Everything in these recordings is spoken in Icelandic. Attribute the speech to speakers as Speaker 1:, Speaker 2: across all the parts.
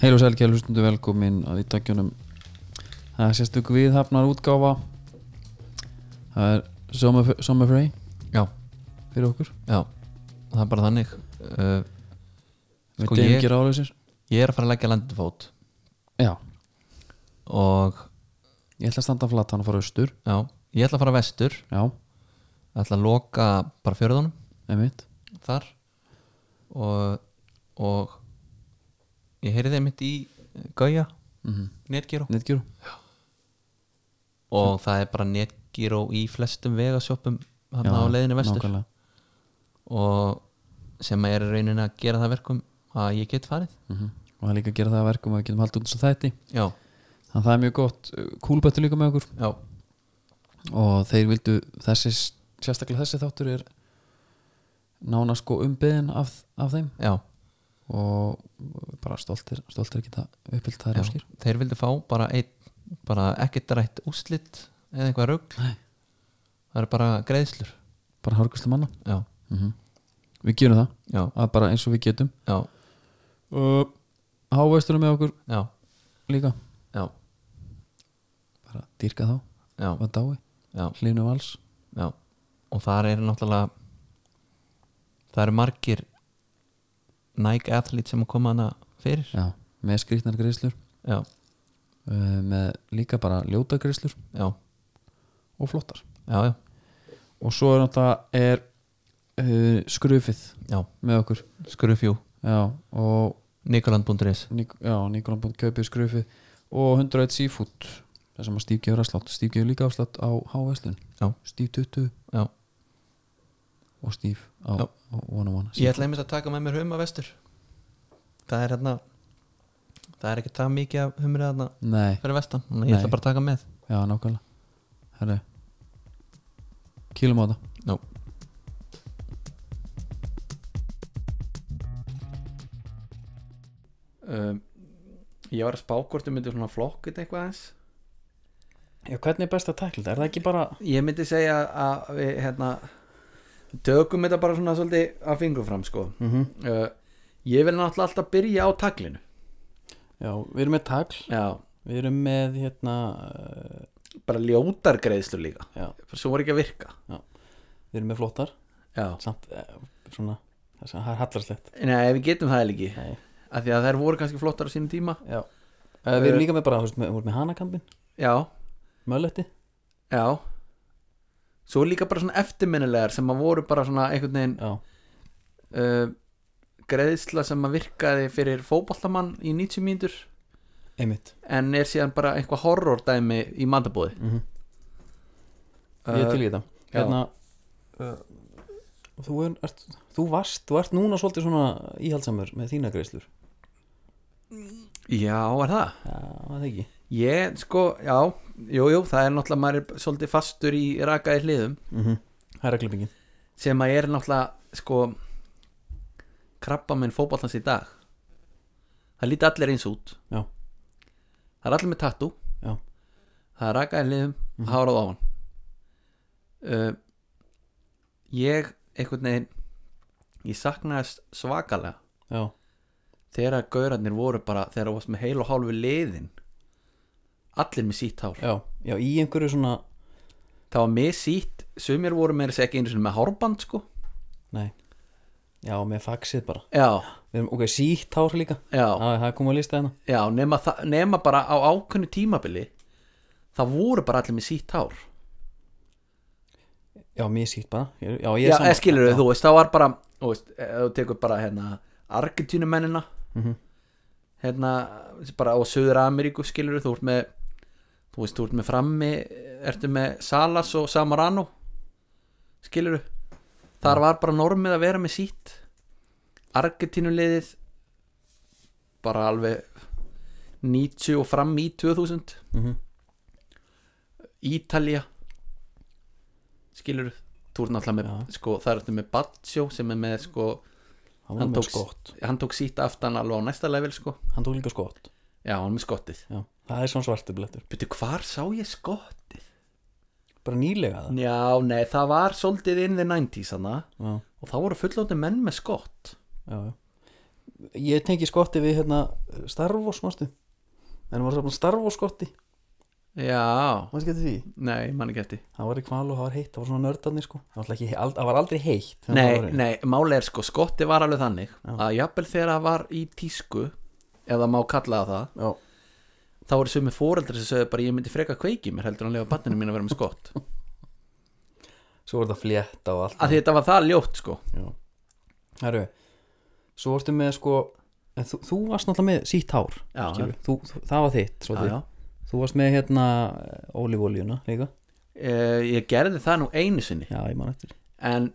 Speaker 1: Heil og sælgæl hlustundu velkomin að ítækjunum Það er sérstök viðhafnar útgáfa Það er Summer, summer Frey
Speaker 2: Já.
Speaker 1: Fyrir okkur
Speaker 2: Já, það er bara þannig uh,
Speaker 1: Við
Speaker 2: Sko,
Speaker 1: deyjum
Speaker 2: ég-
Speaker 1: ekki ráðlausir
Speaker 2: Ég er að fara að leggja landið fót
Speaker 1: Já,
Speaker 2: og
Speaker 1: ég ætla að standa flatan og fara austur
Speaker 2: já, ég ætla að fara vestur
Speaker 1: Já,
Speaker 2: ég ætla að loka bara fjörðunum
Speaker 1: einmitt
Speaker 2: þar og, og ég heyrði þeim mitt í eh, Gauja,
Speaker 1: mm -hmm.
Speaker 2: netgíró
Speaker 1: Netgyrú
Speaker 2: og það er bara netgíró í flestum vegasjópum hann á leiðinni vestur
Speaker 1: nákvæmlega.
Speaker 2: og sem er í rauninni að gera það verkum að ég get farið
Speaker 1: Mhm. Og það er líka að gera það að verkum að við getum haldið út þess að þætti
Speaker 2: Já,
Speaker 1: Þannig að það er mjög gott Kúlbættu líka með okkur
Speaker 2: já,
Speaker 1: og þeir vildu þessi, sérstaklega þessi þáttur er nána sko umbyðin af, af þeim
Speaker 2: já
Speaker 1: og bara stoltir, stoltir að geta uppfyllt
Speaker 2: Já,
Speaker 1: það er óskir
Speaker 2: þeir vildu fá bara einn bara ekkert rætt úslit eða eitthvað rugg
Speaker 1: Nei.
Speaker 2: það eru bara greiðslur
Speaker 1: bara hárguslu manna
Speaker 2: já, Mhm.
Speaker 1: við gerum það,
Speaker 2: já,
Speaker 1: að bara eins og við getum
Speaker 2: já,
Speaker 1: uh, háveisturum með okkur
Speaker 2: já,
Speaker 1: líka
Speaker 2: já,
Speaker 1: bara dýrka þá,
Speaker 2: já,
Speaker 1: var dái
Speaker 2: já,
Speaker 1: hlýnum vals,
Speaker 2: já. og þar eru náttúrulega það eru margir Nike athlete sem að koma hana fyrir
Speaker 1: já, með skrýtnar greislur
Speaker 2: já,
Speaker 1: uh, með líka bara ljóta greislur
Speaker 2: já,
Speaker 1: og flottar
Speaker 2: já, já,
Speaker 1: og svo er náttúrulega er uh, skrufið
Speaker 2: já.
Speaker 1: með okkur
Speaker 2: skrufjú,
Speaker 1: já, og
Speaker 2: nikoland.is
Speaker 1: Nik já, Nikolan Bund kaupir skrufið og 101 Seafood það sem að Steve gefur afslátt Steve gefur líka afslátt á Háveslun
Speaker 2: Já.
Speaker 1: Steve 20
Speaker 2: Já.
Speaker 1: og Steve á,
Speaker 2: Já.
Speaker 1: á One on One
Speaker 2: ég ætla einmitt að taka með mér humma vestur það er hérna það er ekki það mikið af humrið hérna
Speaker 1: Nei,
Speaker 2: fyrir vestan, þannig að ég
Speaker 1: Nei.
Speaker 2: ætla bara að taka með
Speaker 1: já, nákvæmlega Herri Kýlum á það
Speaker 2: Já.
Speaker 3: um, ég var að spá hvort þú myndir svona flokkut eitthvað eins
Speaker 1: Já, hvernig er best að tækla þetta? Er það ekki bara
Speaker 3: ég myndi segja að við hérna tökum þetta bara svona svolítið að fingur fram sko
Speaker 1: mm -hmm.
Speaker 3: uh, ég vil náttúrulega alltaf byrja á taglinu
Speaker 1: Já, við erum með tagl
Speaker 3: já,
Speaker 1: Við erum með hérna
Speaker 3: bara ljótar greiðslur líka
Speaker 1: Já.
Speaker 3: svo voru ekki að virka
Speaker 1: Við erum með flottar
Speaker 3: já.
Speaker 1: Samt eh, svona Það er hallarslegt
Speaker 3: Nei, við getum það ekki
Speaker 1: Nei.
Speaker 3: af því að þær voru kannski flottar á sínum tíma
Speaker 1: Já
Speaker 3: við erum
Speaker 1: líka með bara, þú veist, við erum með hanakampin
Speaker 3: já,
Speaker 1: Mölletti
Speaker 3: já svo líka bara svona eftirminnilegar sem að voru bara svona einhvern veginn
Speaker 1: Já
Speaker 3: uh, greiðsla sem að virkaði fyrir fótballamann í 90 mínútur
Speaker 1: Einmitt
Speaker 3: en er síðan bara eitthvað horror dæmi í matabóði
Speaker 1: mm Ég er til í þetta
Speaker 3: já.
Speaker 1: Hérna uh, þú, er, ert, þú varst Þú ert núna svolítið svona íhaldsamur með þína greislur
Speaker 3: Eh, Já, er það?
Speaker 1: Já, það ekki
Speaker 3: Ég, sko, já, jú, jú, það er náttúrulega maður er svolítið fastur í rakaði hliðum
Speaker 1: mm -hmm. Herraklippingin
Speaker 3: sem að er náttúrulega, sko krabba minn fótballans í dag það líti allir eins út
Speaker 1: Já.
Speaker 3: það er allir með tattoo
Speaker 1: Já.
Speaker 3: það er rakaði hliðum
Speaker 1: Mhm.
Speaker 3: mm. hárað á hann uh, ég, einhvern veginn ég saknaðist svakalega
Speaker 1: Já,
Speaker 3: þegar að gaurarnir voru bara þegar þú varst með heil og hálfu liðin allir með sítt hár
Speaker 1: já, já, í einhverju svona
Speaker 3: það var með sítt, sumir voru með þess ekki einu sinni með hárband sko
Speaker 1: Nei Já, með faxið bara
Speaker 3: já,
Speaker 1: Við erum ok, sítt hár líka
Speaker 3: já,
Speaker 1: Já, það kom að lista hérna
Speaker 3: já nema, það- nema bara á ákveðnu tímabili það voru bara allir með sítt hár
Speaker 1: Já, mér sítt bara Ég- Já, ég er
Speaker 3: já, eða
Speaker 1: saman
Speaker 3: skilur þú veist, það var bara þú veist, eh, ef þú tekur bara hérna Argentínumennina
Speaker 1: Mhm.
Speaker 3: hérna, bara á Suður Ameríku skilur þú ert með þú veist, þú ert með frammi ertu með Salas og Samarano skilur þar
Speaker 1: Mhm.
Speaker 3: var bara normið að vera með sítt Argentínuleiðið bara alveg 90 og fram í 2000
Speaker 1: Mhm.
Speaker 3: Ítalja skilur þú ert náttúrulega með, sko, það ertu með Baggio sem er með, sko,
Speaker 1: Hann var
Speaker 3: Hann
Speaker 1: með
Speaker 3: tók-
Speaker 1: skott
Speaker 3: hann tók sítt aftan alveg á næsta level, sko
Speaker 1: Hann tók líka skott
Speaker 3: já, hann er með skottið
Speaker 1: Já, það er svona svartu blettur
Speaker 3: Byrju, hvar sá ég skottið?
Speaker 1: Bara nýlega það
Speaker 3: Já, nei, það var svolítið in the 90s hana
Speaker 1: Já,
Speaker 3: og þá voru fullóti menn með skott
Speaker 1: já, já ég tengi skotti við hérna Star Wars mástu en var saman Star Wars skotti
Speaker 3: já,
Speaker 1: maður skemmti því
Speaker 3: nei, mann ekki eftir
Speaker 1: það var í kval og það var heitt, það var svona nördarnir sko það var, alltaf ekki, al, það var aldrei heitt þegar maður
Speaker 3: Nei,
Speaker 1: var-
Speaker 3: nei, máli er sko, skotti var alveg þannig
Speaker 1: Já.
Speaker 3: að jafnvel þegar það var í tísku eða má kalla það það
Speaker 1: Já,
Speaker 3: þá voru sumi fóreldri sem sögðu bara ég myndi freka kveiki mér heldur en að lefa banninu mín að vera með skott að
Speaker 1: svo var þetta flétta og allt
Speaker 3: því þetta var það ljótt sko
Speaker 1: Herru, svo varstu með sko en þú, þú varst náttúrulega með sítt hár
Speaker 3: Já,
Speaker 1: skilur. þú, þú, það var þitt
Speaker 3: já, já.
Speaker 1: svolítið. þú varst með hérna ólífólíuna líka
Speaker 3: E, ég gerði það nú einu sinni
Speaker 1: já, ég man eftir
Speaker 3: en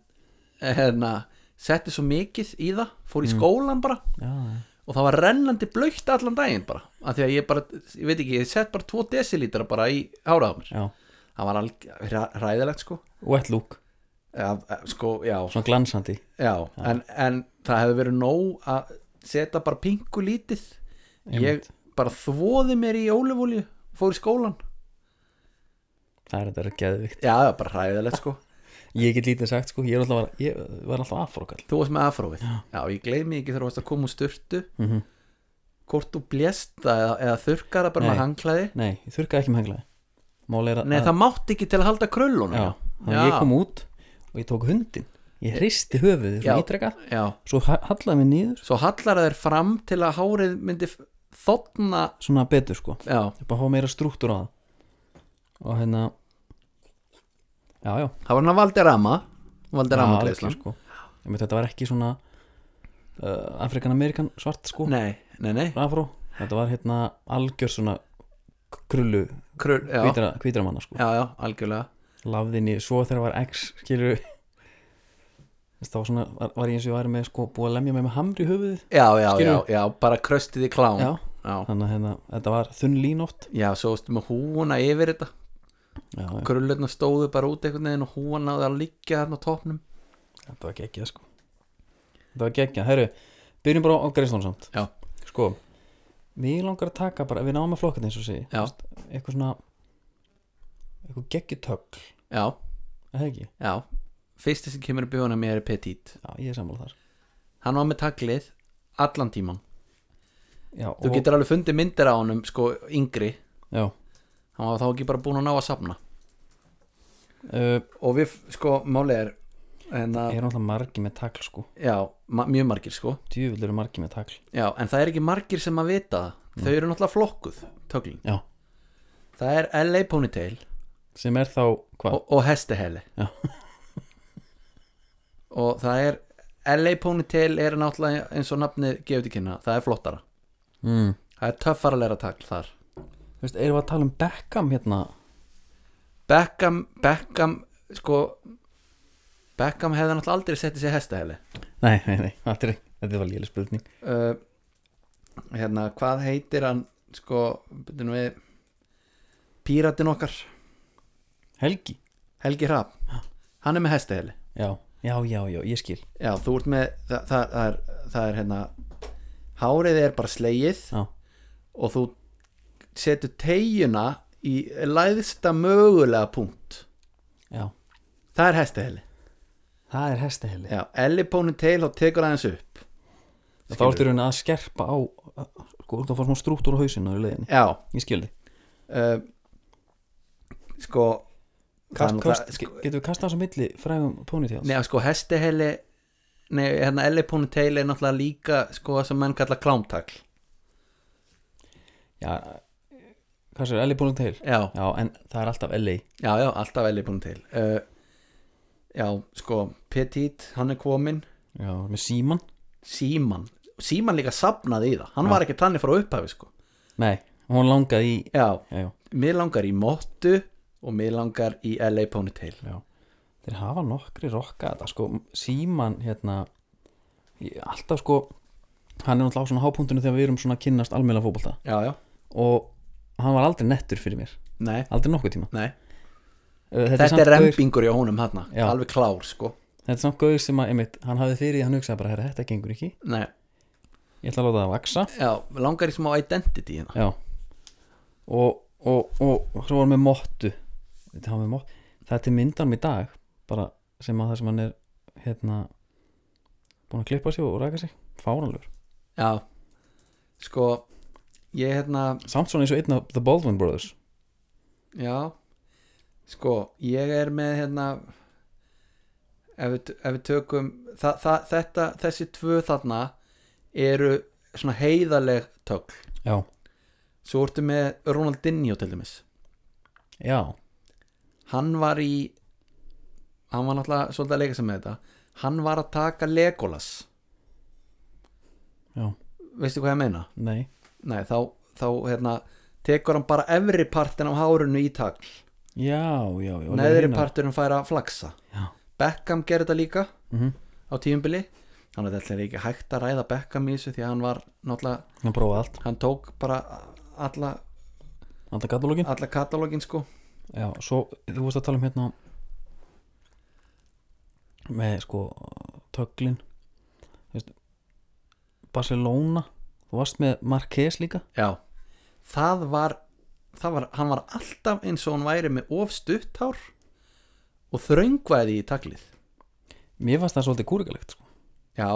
Speaker 3: eh, hérna, setti svo mikið í það fór í skólan bara
Speaker 1: já, já.
Speaker 3: og það var rennandi blöytt allan daginn bara að því að ég bara, ég veit ekki, ég sett bara 2 desilítra bara í háraða mér
Speaker 1: já.
Speaker 3: það var alg, hra- hræðilegt sko
Speaker 1: wet look,
Speaker 3: Já, eh, sko, já,
Speaker 1: svona glansandi
Speaker 3: já, En, en það hefði verið nóg að setja bara pingu lítið ég
Speaker 1: Einmitt.
Speaker 3: bara þvoði mér í ólefólju fór í skólan
Speaker 1: það er þetta er geðvikt
Speaker 3: já, það var bara hræðilegt sko
Speaker 1: ég get lítið sagt sko, ég, er alltaf, var- ég var alltaf afrókall
Speaker 3: þú varst með afrófið, já, ég gleymi ekki þegar þú varst að koma úr styrtu
Speaker 1: mm -hmm.
Speaker 3: hvort þú blést það eða, eða þurrkar það bara
Speaker 1: Nei.
Speaker 3: með hangklæði
Speaker 1: nei, ég þurkaði ekki með henglaði mál er að
Speaker 3: nei, það mátti ekki til að halda kröllunum
Speaker 1: já, þannig að ég kom út og ég tók hundin ég hristi höfuðið
Speaker 3: Já.
Speaker 1: svona ítreka
Speaker 3: já,
Speaker 1: svo ha- hallaði mér niður
Speaker 3: svo hallar það þér fram til að hárið myndi þotna,
Speaker 1: svona betur sko
Speaker 3: já,
Speaker 1: ég bara hafa meira struktúr á það og hérna já, já,
Speaker 3: það var hann að valdi rama valdi
Speaker 1: Já,
Speaker 3: rama
Speaker 1: algjör, sko. ég með þetta var ekki svona uh, Afrikan-Amerikan svart sko
Speaker 3: nei, nei, nei,
Speaker 1: afró, þetta var hérna algjör svona k- krullu
Speaker 3: Krull, já,
Speaker 1: hvítra, hvítra manna sko
Speaker 3: já, já, algjörlega
Speaker 1: lafðinni, svo þegar var X skilur þá var svona, var, var ég eins og ég væri með sko búið að lemja mig með hamri í höfuðið
Speaker 3: já, já, já,
Speaker 1: Skilurðu?
Speaker 3: já, bara kröstið í klám
Speaker 1: já,
Speaker 3: já,
Speaker 1: þannig að hérna, þetta var þunn línótt
Speaker 3: já svo veistu með húana yfir þetta
Speaker 1: já, já,
Speaker 3: krullurna stóðu bara út einhvern veginn og húan náði að liggja þarna á topnum
Speaker 1: þetta var geggjað sko þetta var geggjað, herru byrjum bara á Greifstón samt
Speaker 3: Já.
Speaker 1: sko, mér langar að taka bara við náum að flokka þetta eins og segi
Speaker 3: já,
Speaker 1: eitthvað svona eitthvað geggjutögl,
Speaker 3: já,
Speaker 1: er það ekki?
Speaker 3: já fyrsti sem kemur í bjóðuna mér er Petit
Speaker 1: Já, ég er sammála þar
Speaker 3: hann var með taglið allan tíman
Speaker 1: já,
Speaker 3: þú
Speaker 1: og-
Speaker 3: getur alveg fundið myndir á honum sko yngri,
Speaker 1: já,
Speaker 3: hann var þá ekki bara búin að ná að safna
Speaker 1: uh,
Speaker 3: og við sko, málið er en að,
Speaker 1: er náttúrulega margi með tagl sko
Speaker 3: já, ma mjög margir sko
Speaker 1: djúvill eru margi með tagl
Speaker 3: já, en það er ekki margir sem að vita það þau eru náttúrulega flokkuð, töglin
Speaker 1: já,
Speaker 3: það er LA Ponytail
Speaker 1: sem er þá hvað?
Speaker 3: og, og hestiheli
Speaker 1: Já.
Speaker 3: og það er LA Ponytail er náttúrulega eins og nafnið gefur til kynna, það er flottara
Speaker 1: Mm.
Speaker 3: það er töffara að læra tagl þar
Speaker 1: Þú veist, erum við að tala um Beckham hérna
Speaker 3: Beckham, Beckham sko Beckham hefði náttúrulega aldrei settið sér hestiheli
Speaker 1: nei, nei, nei, þetta, er, þetta var lélega spurning
Speaker 3: uh, hérna, hvað heitir hann sko, byrjum við píratin okkar
Speaker 1: Helgi,
Speaker 3: Helgi Hrab, hann er með hestiheli
Speaker 1: já, já, já, já, ég skil
Speaker 3: Já, þú ert með það, það, það, er, það er hérna Hárið er bara slegið
Speaker 1: Já.
Speaker 3: Og þú setur tegjuna Í læðsta mögulega punkt
Speaker 1: já,
Speaker 3: Það er hestaheli
Speaker 1: það er hestaheli
Speaker 3: Já, Ellie Ponytail og tekur aðeins upp
Speaker 1: þá ertu raunin að skerpa á sko, þú fór smá strúktúr á hausinu í leiðinni,
Speaker 3: Já
Speaker 1: ég skil þig
Speaker 3: uh, Sko
Speaker 1: Kast,
Speaker 3: þannig að
Speaker 1: kast,
Speaker 3: það-
Speaker 1: sko, getum við kastað þessu milli frægum ponytails
Speaker 3: Nei, sko, hestaheli Nei, hérna Ellie Ponytail er náttúrulega líka Sko, það sem menn kalla klámtagl
Speaker 1: já, hvað sér, Ellie ponytail
Speaker 3: Já,
Speaker 1: já, en það er alltaf Ellie
Speaker 3: já, já, alltaf Ellie Ponytail uh, Já, sko Petit, hann er kominn
Speaker 1: já, með síman
Speaker 3: Síman Síman líka safnaði í það, hann var ekki tannig frá upphæfi sko.
Speaker 1: nei, hún langaði í
Speaker 3: Já,
Speaker 1: já, já,
Speaker 3: mér langar í Mottu og mér langar í LA Ponytail
Speaker 1: já. þeir hafa nokkri rokka þetta sko, síman hérna ég- alltaf sko hann er náttúrulega á svona hápunktunum þegar við erum svona að kynnast almjöla fótbolta
Speaker 3: Já, já,
Speaker 1: og hann var aldrei nettur fyrir mér
Speaker 3: nei,
Speaker 1: aldrei nokkuð tíma
Speaker 3: nei
Speaker 1: Uh,
Speaker 3: Þetta,
Speaker 1: samt
Speaker 3: er
Speaker 1: gaur-
Speaker 3: rempingur í honum hann
Speaker 1: Já.
Speaker 3: Alveg klár, sko
Speaker 1: þetta er samt gauð sem að, einmitt, hann hafði fyrir því hann hugsaði bara, herra, þetta gengur ekki
Speaker 3: Nei,
Speaker 1: ég ætla að láta það vaksa
Speaker 3: já, mig langar í smá identity hérna
Speaker 1: Já Og, og, og svo var hann með mottu Þetta var með mottu Það er til myndanum í dag bara sem að það sem hann er hérna búin að klippa sig og ræka sig fáranlegur
Speaker 3: Já Sko Ég hérna
Speaker 1: Samt svona eins og einn af The Baldwin Brothers
Speaker 3: Já Sko ég er með hérna Ef við, ef við tökum það, það, þetta, Þessi tvö þarna Eru svona heiðaleg tögl
Speaker 1: Já
Speaker 3: Svo ertu með Ronaldinho til dæmis
Speaker 1: Já
Speaker 3: Hann var í Hann var náttúrulega svolítið að leika sem með þetta Hann var að taka Legolas
Speaker 1: Já
Speaker 3: Veistu hvað ég meina?
Speaker 1: Nei
Speaker 3: Nei, þá, þá hérna Tekur hann bara efri partin af hárunu í tagl
Speaker 1: Já, já, já
Speaker 3: neðri
Speaker 1: Hinar-
Speaker 3: parturinn fær að flaksa
Speaker 1: Já.
Speaker 3: Beckham gerði þetta líka
Speaker 1: Mhm.
Speaker 3: á tíumbili þannig að þetta er ekki hægt að ræða Beckham í þessu því að hann var náttúrulega
Speaker 1: Hann prófaði allt
Speaker 3: hann tók bara alla,
Speaker 1: Alltaf katalógin
Speaker 3: alla katalógin sko
Speaker 1: Já, svo þú veist að tala um hérna með sko töglin veist, Barcelona þú varst með Marquez líka
Speaker 3: já, það var, það var hann var alltaf eins og hann væri með ofstuttár og þröngvæði í taglið
Speaker 1: Mér fannst það svolítið kúrikalegt sko.
Speaker 3: já,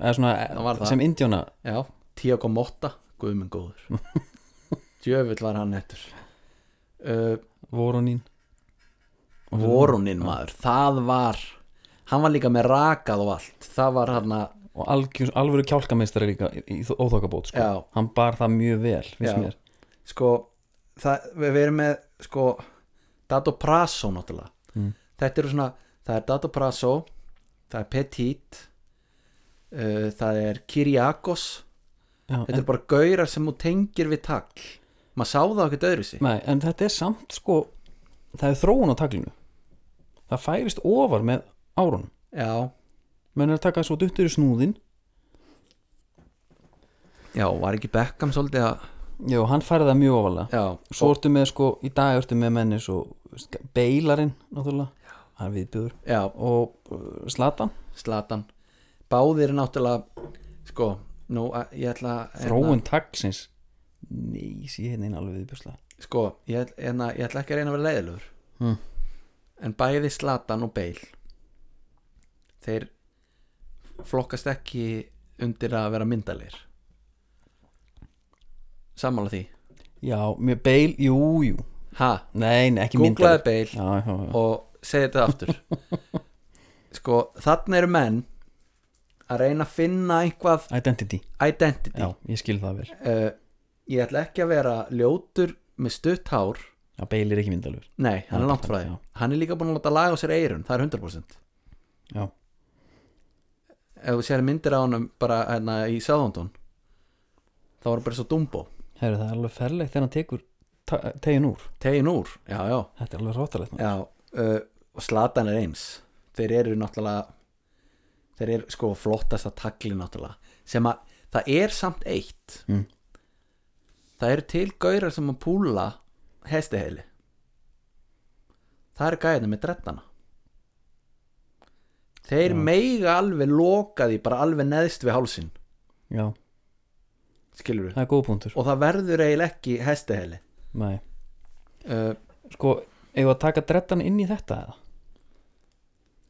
Speaker 1: eða svona
Speaker 3: Það var það.
Speaker 1: sem indjóna
Speaker 3: já, Tiago Motta guðminn góður djöfull var hann ettur uh,
Speaker 1: vorunín
Speaker 3: Voruninn maður, það var hann var líka með rakað og allt það var hann að,
Speaker 1: og algjör, alvöru kjálkameistari líka í, í óþokkabót sko.
Speaker 3: Já.
Speaker 1: hann bar það mjög vel
Speaker 3: Já.
Speaker 1: finnst mér
Speaker 3: sko það, við erum með, sko Dato Praso náttúrulega þetta eru svona, það er Dato Praso það er Petit uh, það er Kyriakos
Speaker 1: Já,
Speaker 3: þetta
Speaker 1: en,
Speaker 3: eru bara gaurar sem þú tengir við tagl maður sá það okkur öðru sig
Speaker 1: nei, en þetta er samt sko það er þróun á taglinu það færist ofar með árunum
Speaker 3: já,
Speaker 1: menn er að taka svo duttur í snúðin
Speaker 3: já, var ekki Beckham svolítið að,
Speaker 1: já, hann færði það mjög ofarlega
Speaker 3: já,
Speaker 1: svo ertu með sko, í dag ertu með menni svo beilarinn náttúrulega hann viðbjöður
Speaker 3: já
Speaker 1: og uh, slatan,
Speaker 3: Slatan báðir náttúrulega sko, nú að- ég ætla hérna, að-
Speaker 1: þróun tagsins nei, sé hérna einn alveg viðbjöðslega
Speaker 3: sko, ég, ætl- hérna, ég ætla ekki að reyna að vera leiðilegur
Speaker 1: Hmm.
Speaker 3: en bæði Slatan og Beil þeir flokkast ekki undir að vera myndalegir sammála því
Speaker 1: já, mér beil, jú, jú
Speaker 3: ha,
Speaker 1: nei, nei ekki
Speaker 3: googlaði
Speaker 1: myndaður.
Speaker 3: Beil
Speaker 1: já, já, já.
Speaker 3: og segi þetta aftur sko, þarna eru menn að reyna að finna einhvað
Speaker 1: Identity,
Speaker 3: identity
Speaker 1: já, ég skil það vel
Speaker 3: Eh, ég ætla ekki að vera ljótur með stutt hár
Speaker 1: Já, Bale er ekki vindalur
Speaker 3: nei, hann er langt frá því
Speaker 1: Já.
Speaker 3: hann er líka búin að láta laga á sér eirun, það er 100%
Speaker 1: Já,
Speaker 3: ef þú sér myndir á honum bara hérna í Southampton þá var hann bara svo dumbo
Speaker 1: herru, það er alveg ferlegt þegar hann tekur ta- tegin úr
Speaker 3: tegin úr, já, já,
Speaker 1: Þetta er alveg ráttalegt
Speaker 3: já uh, og Slatan er eins þeir eru náttúrulega þeir eru sko flottasta tagli náttúrulega sem að, það er samt eitt
Speaker 1: Mm.
Speaker 3: það eru til gaurar sem að púla hestiheili það eru gæðina með drettana þeir meiga alveg loka því bara alveg neðst við hálsin
Speaker 1: Já,
Speaker 3: skilur við
Speaker 1: það er góð punktur
Speaker 3: og það verður eiginlega ekki hestiheli
Speaker 1: Nei.
Speaker 3: uh,
Speaker 1: Sko, eigum við að taka drettan inn í þetta eða?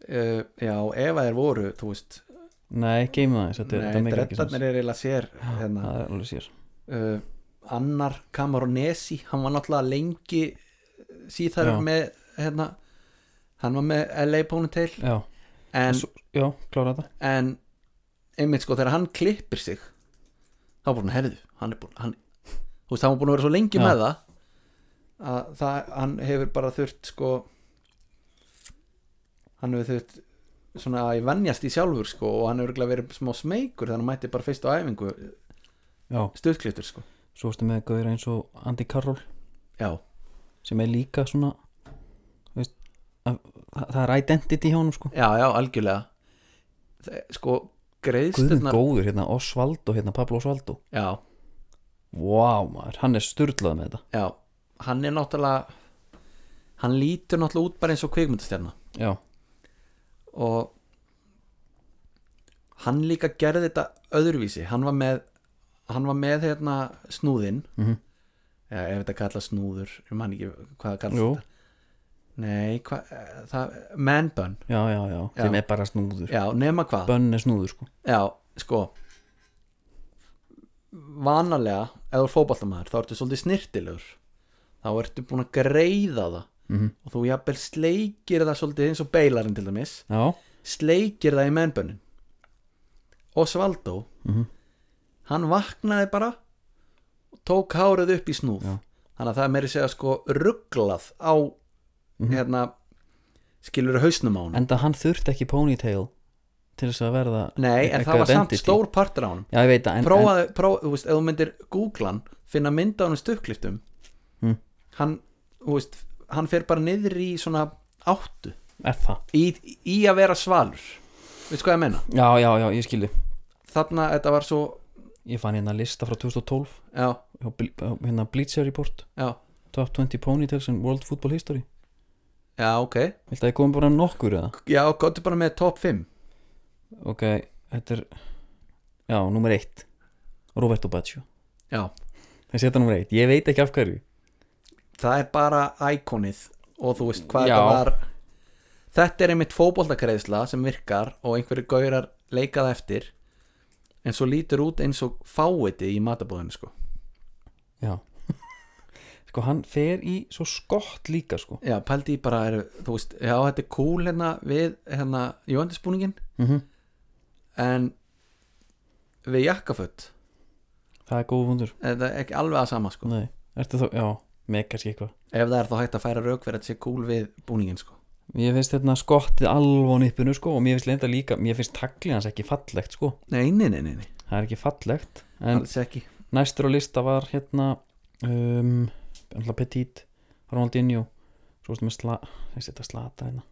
Speaker 3: uh, já, ef að þeir voru þú veist,
Speaker 1: Nei, geymum það eins Þetta er- þetta
Speaker 3: nei,
Speaker 1: meikar ekki sens.
Speaker 3: drettarnir er eiginlega sér hérna,
Speaker 1: Það er alveg sér
Speaker 3: uh, annar Camaronesi, hann var náttúrulega lengi uh, síðar
Speaker 1: Já.
Speaker 3: með hérna, hann var með LA Ponytail
Speaker 1: Já,
Speaker 3: en,
Speaker 1: Svo, já klára þetta
Speaker 3: en einmitt sko, þegar hann klippir sig þá er búin að herðu hann er búin, hann, þú veist, hann var búin að vera svo lengi
Speaker 1: Já.
Speaker 3: með það að það, hann hefur bara þurft sko hann hefur þurft svona að vennjast í sjálfur sko og hann hefur örugglega verið smá smeykur þannig að hann mætti bara fyrst á æfingu
Speaker 1: Já,
Speaker 3: stuðkliftur sko
Speaker 1: svo erstu með gauður eins og Andy Carroll
Speaker 3: já,
Speaker 1: sem er líka svona þú veist, að, það, það er identity hjá honum sko
Speaker 3: já, já, algjörlega Þe, sko,
Speaker 1: Guðum
Speaker 3: greiðsturnar
Speaker 1: góður, hérna Osvaldo, hérna Pablo Osvaldo
Speaker 3: já,
Speaker 1: Vá maður, hann er sturlað með þetta
Speaker 3: já, hann er náttúrulega hann lítur náttúrulega út bara eins og kvikmyndastjarna
Speaker 1: Já,
Speaker 3: og hann líka gerði þetta öðruvísi hann var með, hann var með hérna, snúðinn
Speaker 1: Mhm.
Speaker 3: eða ef þetta kalla snúður ég man ekki hvað það kalla
Speaker 1: Jú.
Speaker 3: þetta nei, hva, eh, það, man bun
Speaker 1: já, já, já,
Speaker 3: Já.
Speaker 1: sem er bara snúður
Speaker 3: já, sko, nema hvað
Speaker 1: Bönn er snúður sko
Speaker 3: já, sko vanalega ef þú er fótballtamaður þá ertu svolítið snirtilegur þá ertu búin að greiða það
Speaker 1: Mhm.
Speaker 3: og þú jafnvel sleikir það svolítið eins og beilarinn til dæmis
Speaker 1: Já,
Speaker 3: sleikir það í mennbönnin Osvaldo
Speaker 1: Mhm.
Speaker 3: hann vaknaði bara og tók hárið upp í snúð
Speaker 1: Já.
Speaker 3: þannig að það er meiri segja sko rugglað á
Speaker 1: Mhm.
Speaker 3: hérna skilur hausnum á hann
Speaker 1: enda hann þurfti ekki ponytail til þess að verða
Speaker 3: nei, en
Speaker 1: eitthvað
Speaker 3: það var samt
Speaker 1: identity.
Speaker 3: stór partur á hann
Speaker 1: Já, ég veit að en, en,
Speaker 3: prófaði, prófaði, þú veist, ef þú myndir Google hann, finna mynda hann um stökkliftum
Speaker 1: Mm.
Speaker 3: hann, þú veist hann fer bara niður í svona áttu,
Speaker 1: er það
Speaker 3: í, í að vera svalur veist hvað ég menna
Speaker 1: Já, já, já, ég skildi
Speaker 3: þarna þetta var svo,
Speaker 1: Ég fann hérna lista frá 2012
Speaker 3: já,
Speaker 1: hjá Ble- hjá, hérna Bleacher Report
Speaker 3: já
Speaker 1: Top 20 ponytails in World Football History
Speaker 3: já, ok,
Speaker 1: Viltu að ég komi bara nokkur eða?
Speaker 3: já, gottu bara með top 5
Speaker 1: Ok, þetta er Já, númer 1 Roberto Baggio
Speaker 3: já,
Speaker 1: Þessi þetta númer 1, ég veit ekki af hverju
Speaker 3: það er bara íkonið og þú veist
Speaker 1: Já.
Speaker 3: hvað þetta var þetta er einmitt fótboltakreðsla sem virkar og einhverju gaurar leikað eftir en svo lítur út eins og fáiði í matabóðinu sko
Speaker 1: Já Sko hann fer í svo skott líka sko
Speaker 3: Já, pældi ég bara, er, þú veist, já, þetta er cool hérna við, hérna, jöndisbúningin
Speaker 1: mm
Speaker 3: en við jakkaföt
Speaker 1: Það er góð fundur
Speaker 3: þetta er ekki alveg að sama, sko
Speaker 1: Nei, ertu þá, já, með kannski eitthvað
Speaker 3: ef það er þá hægt að færa rauk fyrir að þetta sé cool við búningin, sko
Speaker 1: Mér finnst þetta skottið alveg á nippinu sko og mér finnst lenda líka, mér finnst taglið hans ekki fallegt sko
Speaker 3: Nei, nei, nei, nei, nei,
Speaker 1: Það er ekki fallegt En
Speaker 3: alls ekki
Speaker 1: næstur á lista var hérna um, Alla Petit Ronaldinho Svo veist með sla, þessi þetta slata hérna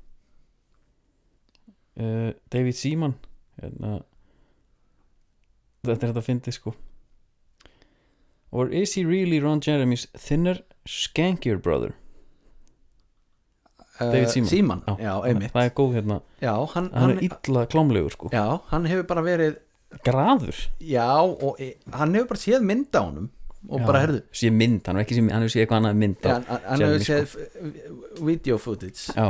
Speaker 1: uh, David Seaman hérna Þetta er þetta að fyndi sko Or is he really Ron Jeremy's thinner, skankier brother? David Seaman.
Speaker 3: Síman,
Speaker 1: Já.
Speaker 3: Eh, já, einmitt
Speaker 1: Það er góð hérna
Speaker 3: Já, hann,
Speaker 1: Hann
Speaker 3: hann,
Speaker 1: er illa klámlegur sko
Speaker 3: já, hann hefur bara verið
Speaker 1: Graður
Speaker 3: já, og e, hann hefur bara séð mynd á honum og
Speaker 1: Já.
Speaker 3: bara, herðu
Speaker 1: Sér mynd, hann er ekki sér mynd, hann er sér eitthvað annað en mynd
Speaker 3: hann, hann- hann
Speaker 1: Jeremy,
Speaker 3: hefur séð f- video footage
Speaker 1: Já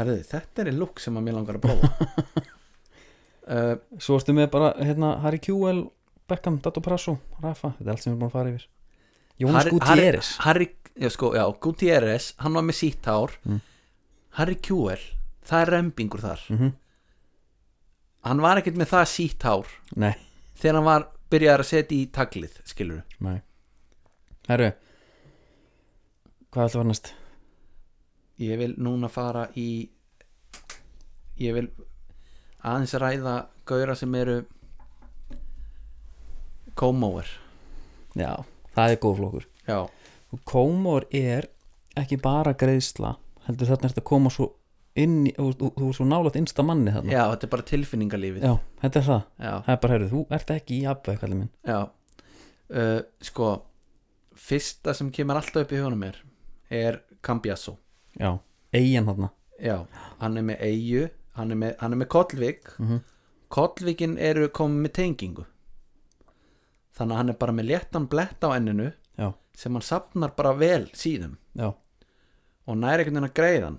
Speaker 3: herðu, þetta er einn look sem að mér langar að prófa uh,
Speaker 1: Svo ertu með bara hérna, Harry QL, Beckham, Dato Prasso, Rafa Þetta er allt sem við erum búin að fara yfir Jónas
Speaker 3: Harry-
Speaker 1: Gutierrez
Speaker 3: Harry, Harry, já, sko, já, Gutierrez, hann var með sítt hár Harry Kjúel það er rembingur þar
Speaker 1: Mhm.
Speaker 3: hann var ekkert með það sítt hár
Speaker 1: Nei,
Speaker 3: þegar hann var byrjaður að setja í taglið skilur
Speaker 1: nei Herru Hvað ætlum var næst?
Speaker 3: ég vil núna fara í ég vil aðeins ræða gauðra sem eru komóer
Speaker 1: Já, það er góð flokkur
Speaker 3: já,
Speaker 1: Og Kómor er ekki bara greiðsla Heldur þarna ertu að koma svo inn í, þú, þú, þú er svo nálægt innsta manni þarna
Speaker 3: já, þetta er bara tilfinningalífið
Speaker 1: Mm. Já, þetta er það
Speaker 3: já,
Speaker 1: Það er bara, herru, þú ert ekki í abveg, kallið minn
Speaker 3: já. Uh, sko fyrsta sem kemur alltaf upp í hugunum mér er Cambiasso
Speaker 1: Já, eigin þarna
Speaker 3: Já, hann er með Eyju hann er með, hann er með Kollvik mm eru komið með tengingu þannig að hann er bara með léttan blett á enninu
Speaker 1: Já,
Speaker 3: sem hann sapnar bara vel síðum
Speaker 1: já,
Speaker 3: og næri einhvern veginn að greiðan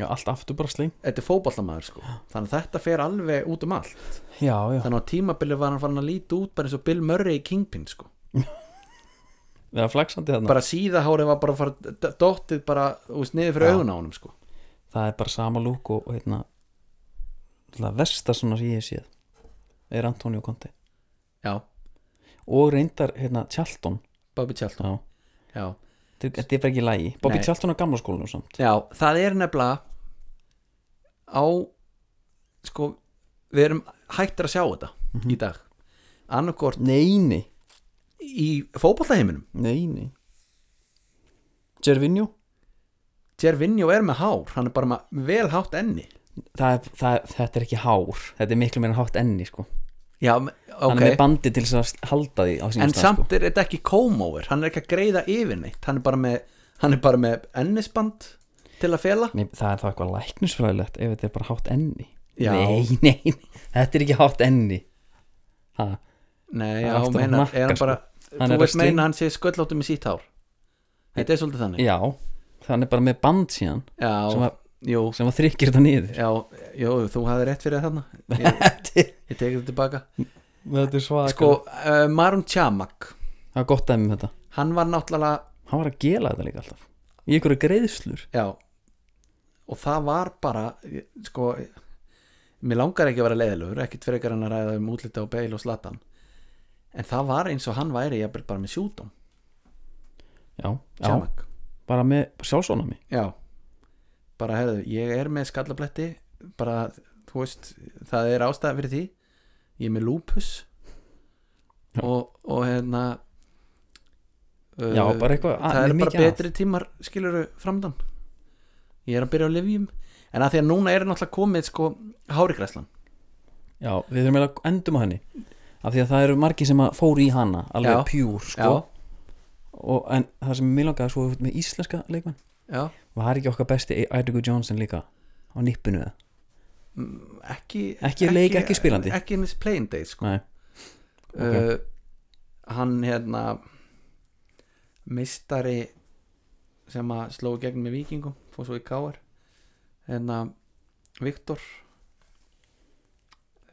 Speaker 1: já, allt aftur bara sling
Speaker 3: þetta er fótballamaður sko þannig að þetta fer alveg út um allt
Speaker 1: Já, já,
Speaker 3: þannig að á tímabili var hann farin að líta út bara eins og Bill Murray í Kingpin sko
Speaker 1: það er flaksandi þarna
Speaker 3: bara síðahárið var bara að fara d- dottið bara úst, niður fyrir augun á honum sko
Speaker 1: það er bara sama lúk og, og hérna það versta svona sem ég hef séð er Antonio Conte
Speaker 3: já,
Speaker 1: og reyndar hérna Tjalton
Speaker 3: Bobby Charlton
Speaker 1: já.
Speaker 3: já.
Speaker 1: þetta þetta er bara ekki lægi Bobby
Speaker 3: Nei.
Speaker 1: Tjalton á gamla skólanum samt
Speaker 3: Já, það er nefnilega á sko, við erum hættir að sjá þetta
Speaker 1: Mhm.
Speaker 3: í dag annarkort
Speaker 1: neini,
Speaker 3: í fótballaheiminum
Speaker 1: neini Gervinho
Speaker 3: Gervinho er með hár, hann er bara með vel hátt enni
Speaker 1: það, er- það, er- þetta er ekki hár þetta er miklu meira hátt enni sko
Speaker 3: Já, me-
Speaker 1: hann er með sko.
Speaker 3: ok
Speaker 1: bandi til þess að halda því á sínum
Speaker 3: En
Speaker 1: stað,
Speaker 3: samt er þetta ekki komóver hann er ekki að greiða yfir neitt hann er bara með, hann er bara með ennisband til að fela
Speaker 1: Nei, það er þá eitthvað læknisfræðilegt ef þetta er bara hátt enni
Speaker 3: Já.
Speaker 1: nei, nei, nei, þetta er ekki hátt enni ha,
Speaker 3: Nei,
Speaker 1: er
Speaker 3: já,
Speaker 1: alltaf að
Speaker 3: meina,
Speaker 1: nakka,
Speaker 3: er hann
Speaker 1: sko.
Speaker 3: bara
Speaker 1: Hann er
Speaker 3: þú
Speaker 1: að
Speaker 3: veist
Speaker 1: sling-
Speaker 3: meina hann sé sköllóttu með sítt hár Þetta er svolítið þannig
Speaker 1: já, hann er bara með band síðan sem
Speaker 3: Já,
Speaker 1: að-
Speaker 3: jú,
Speaker 1: sem að þrykkir þetta niður
Speaker 3: Já, jú, þú hafði rétt fyrir þarna Ég, ég tekið þetta tilbaka
Speaker 1: Þetta er svaka
Speaker 3: sko, uh, Marum Tjamak
Speaker 1: Það er gott dæmi um þetta
Speaker 3: hann var náttúrulega
Speaker 1: Hann var að gela þetta líka alltaf Í einhverju greiðslur
Speaker 3: já, og það var bara ég- sko mér langar ekki að vera leiðilegur ekkit frekar en að ræða um útlita og beil og slatan en það var eins og hann væri jafnvel bara með sjúdóm,
Speaker 1: Já, já
Speaker 3: Tjamak
Speaker 1: Bara með sjálfsónami
Speaker 3: já, bara herðu ég er með skallabletti bara, þú veist, það er ástæða fyrir því ég er með lúpus
Speaker 1: Já.
Speaker 3: og, og hérna uh,
Speaker 1: Já, bara eitthvað
Speaker 3: það
Speaker 1: með
Speaker 3: er bara
Speaker 1: mikið að.
Speaker 3: betri tímar skiluru framdann ég er að byrja á livjum en að því að núna er náttúrulega komið sko hárigræslan
Speaker 1: Já, við þurfum eiginlega að endum á henni Af því að það eru margir sem að fóru í hana Alveg
Speaker 3: Já.
Speaker 1: pjúr, sko og, En það sem mér langaði svo með íslenska leikmann
Speaker 3: já, já,
Speaker 1: Var ekki okkar besti Eidugu Johnson líka Á nippinu það
Speaker 3: Sko. ekki
Speaker 1: Ekki leik, ekki spilandi.
Speaker 3: ekki eins playing day sko
Speaker 1: Nei,
Speaker 3: uh, hann hérna meistari sem að sló í gegn með vikingum fór svo í káar hérna Viktor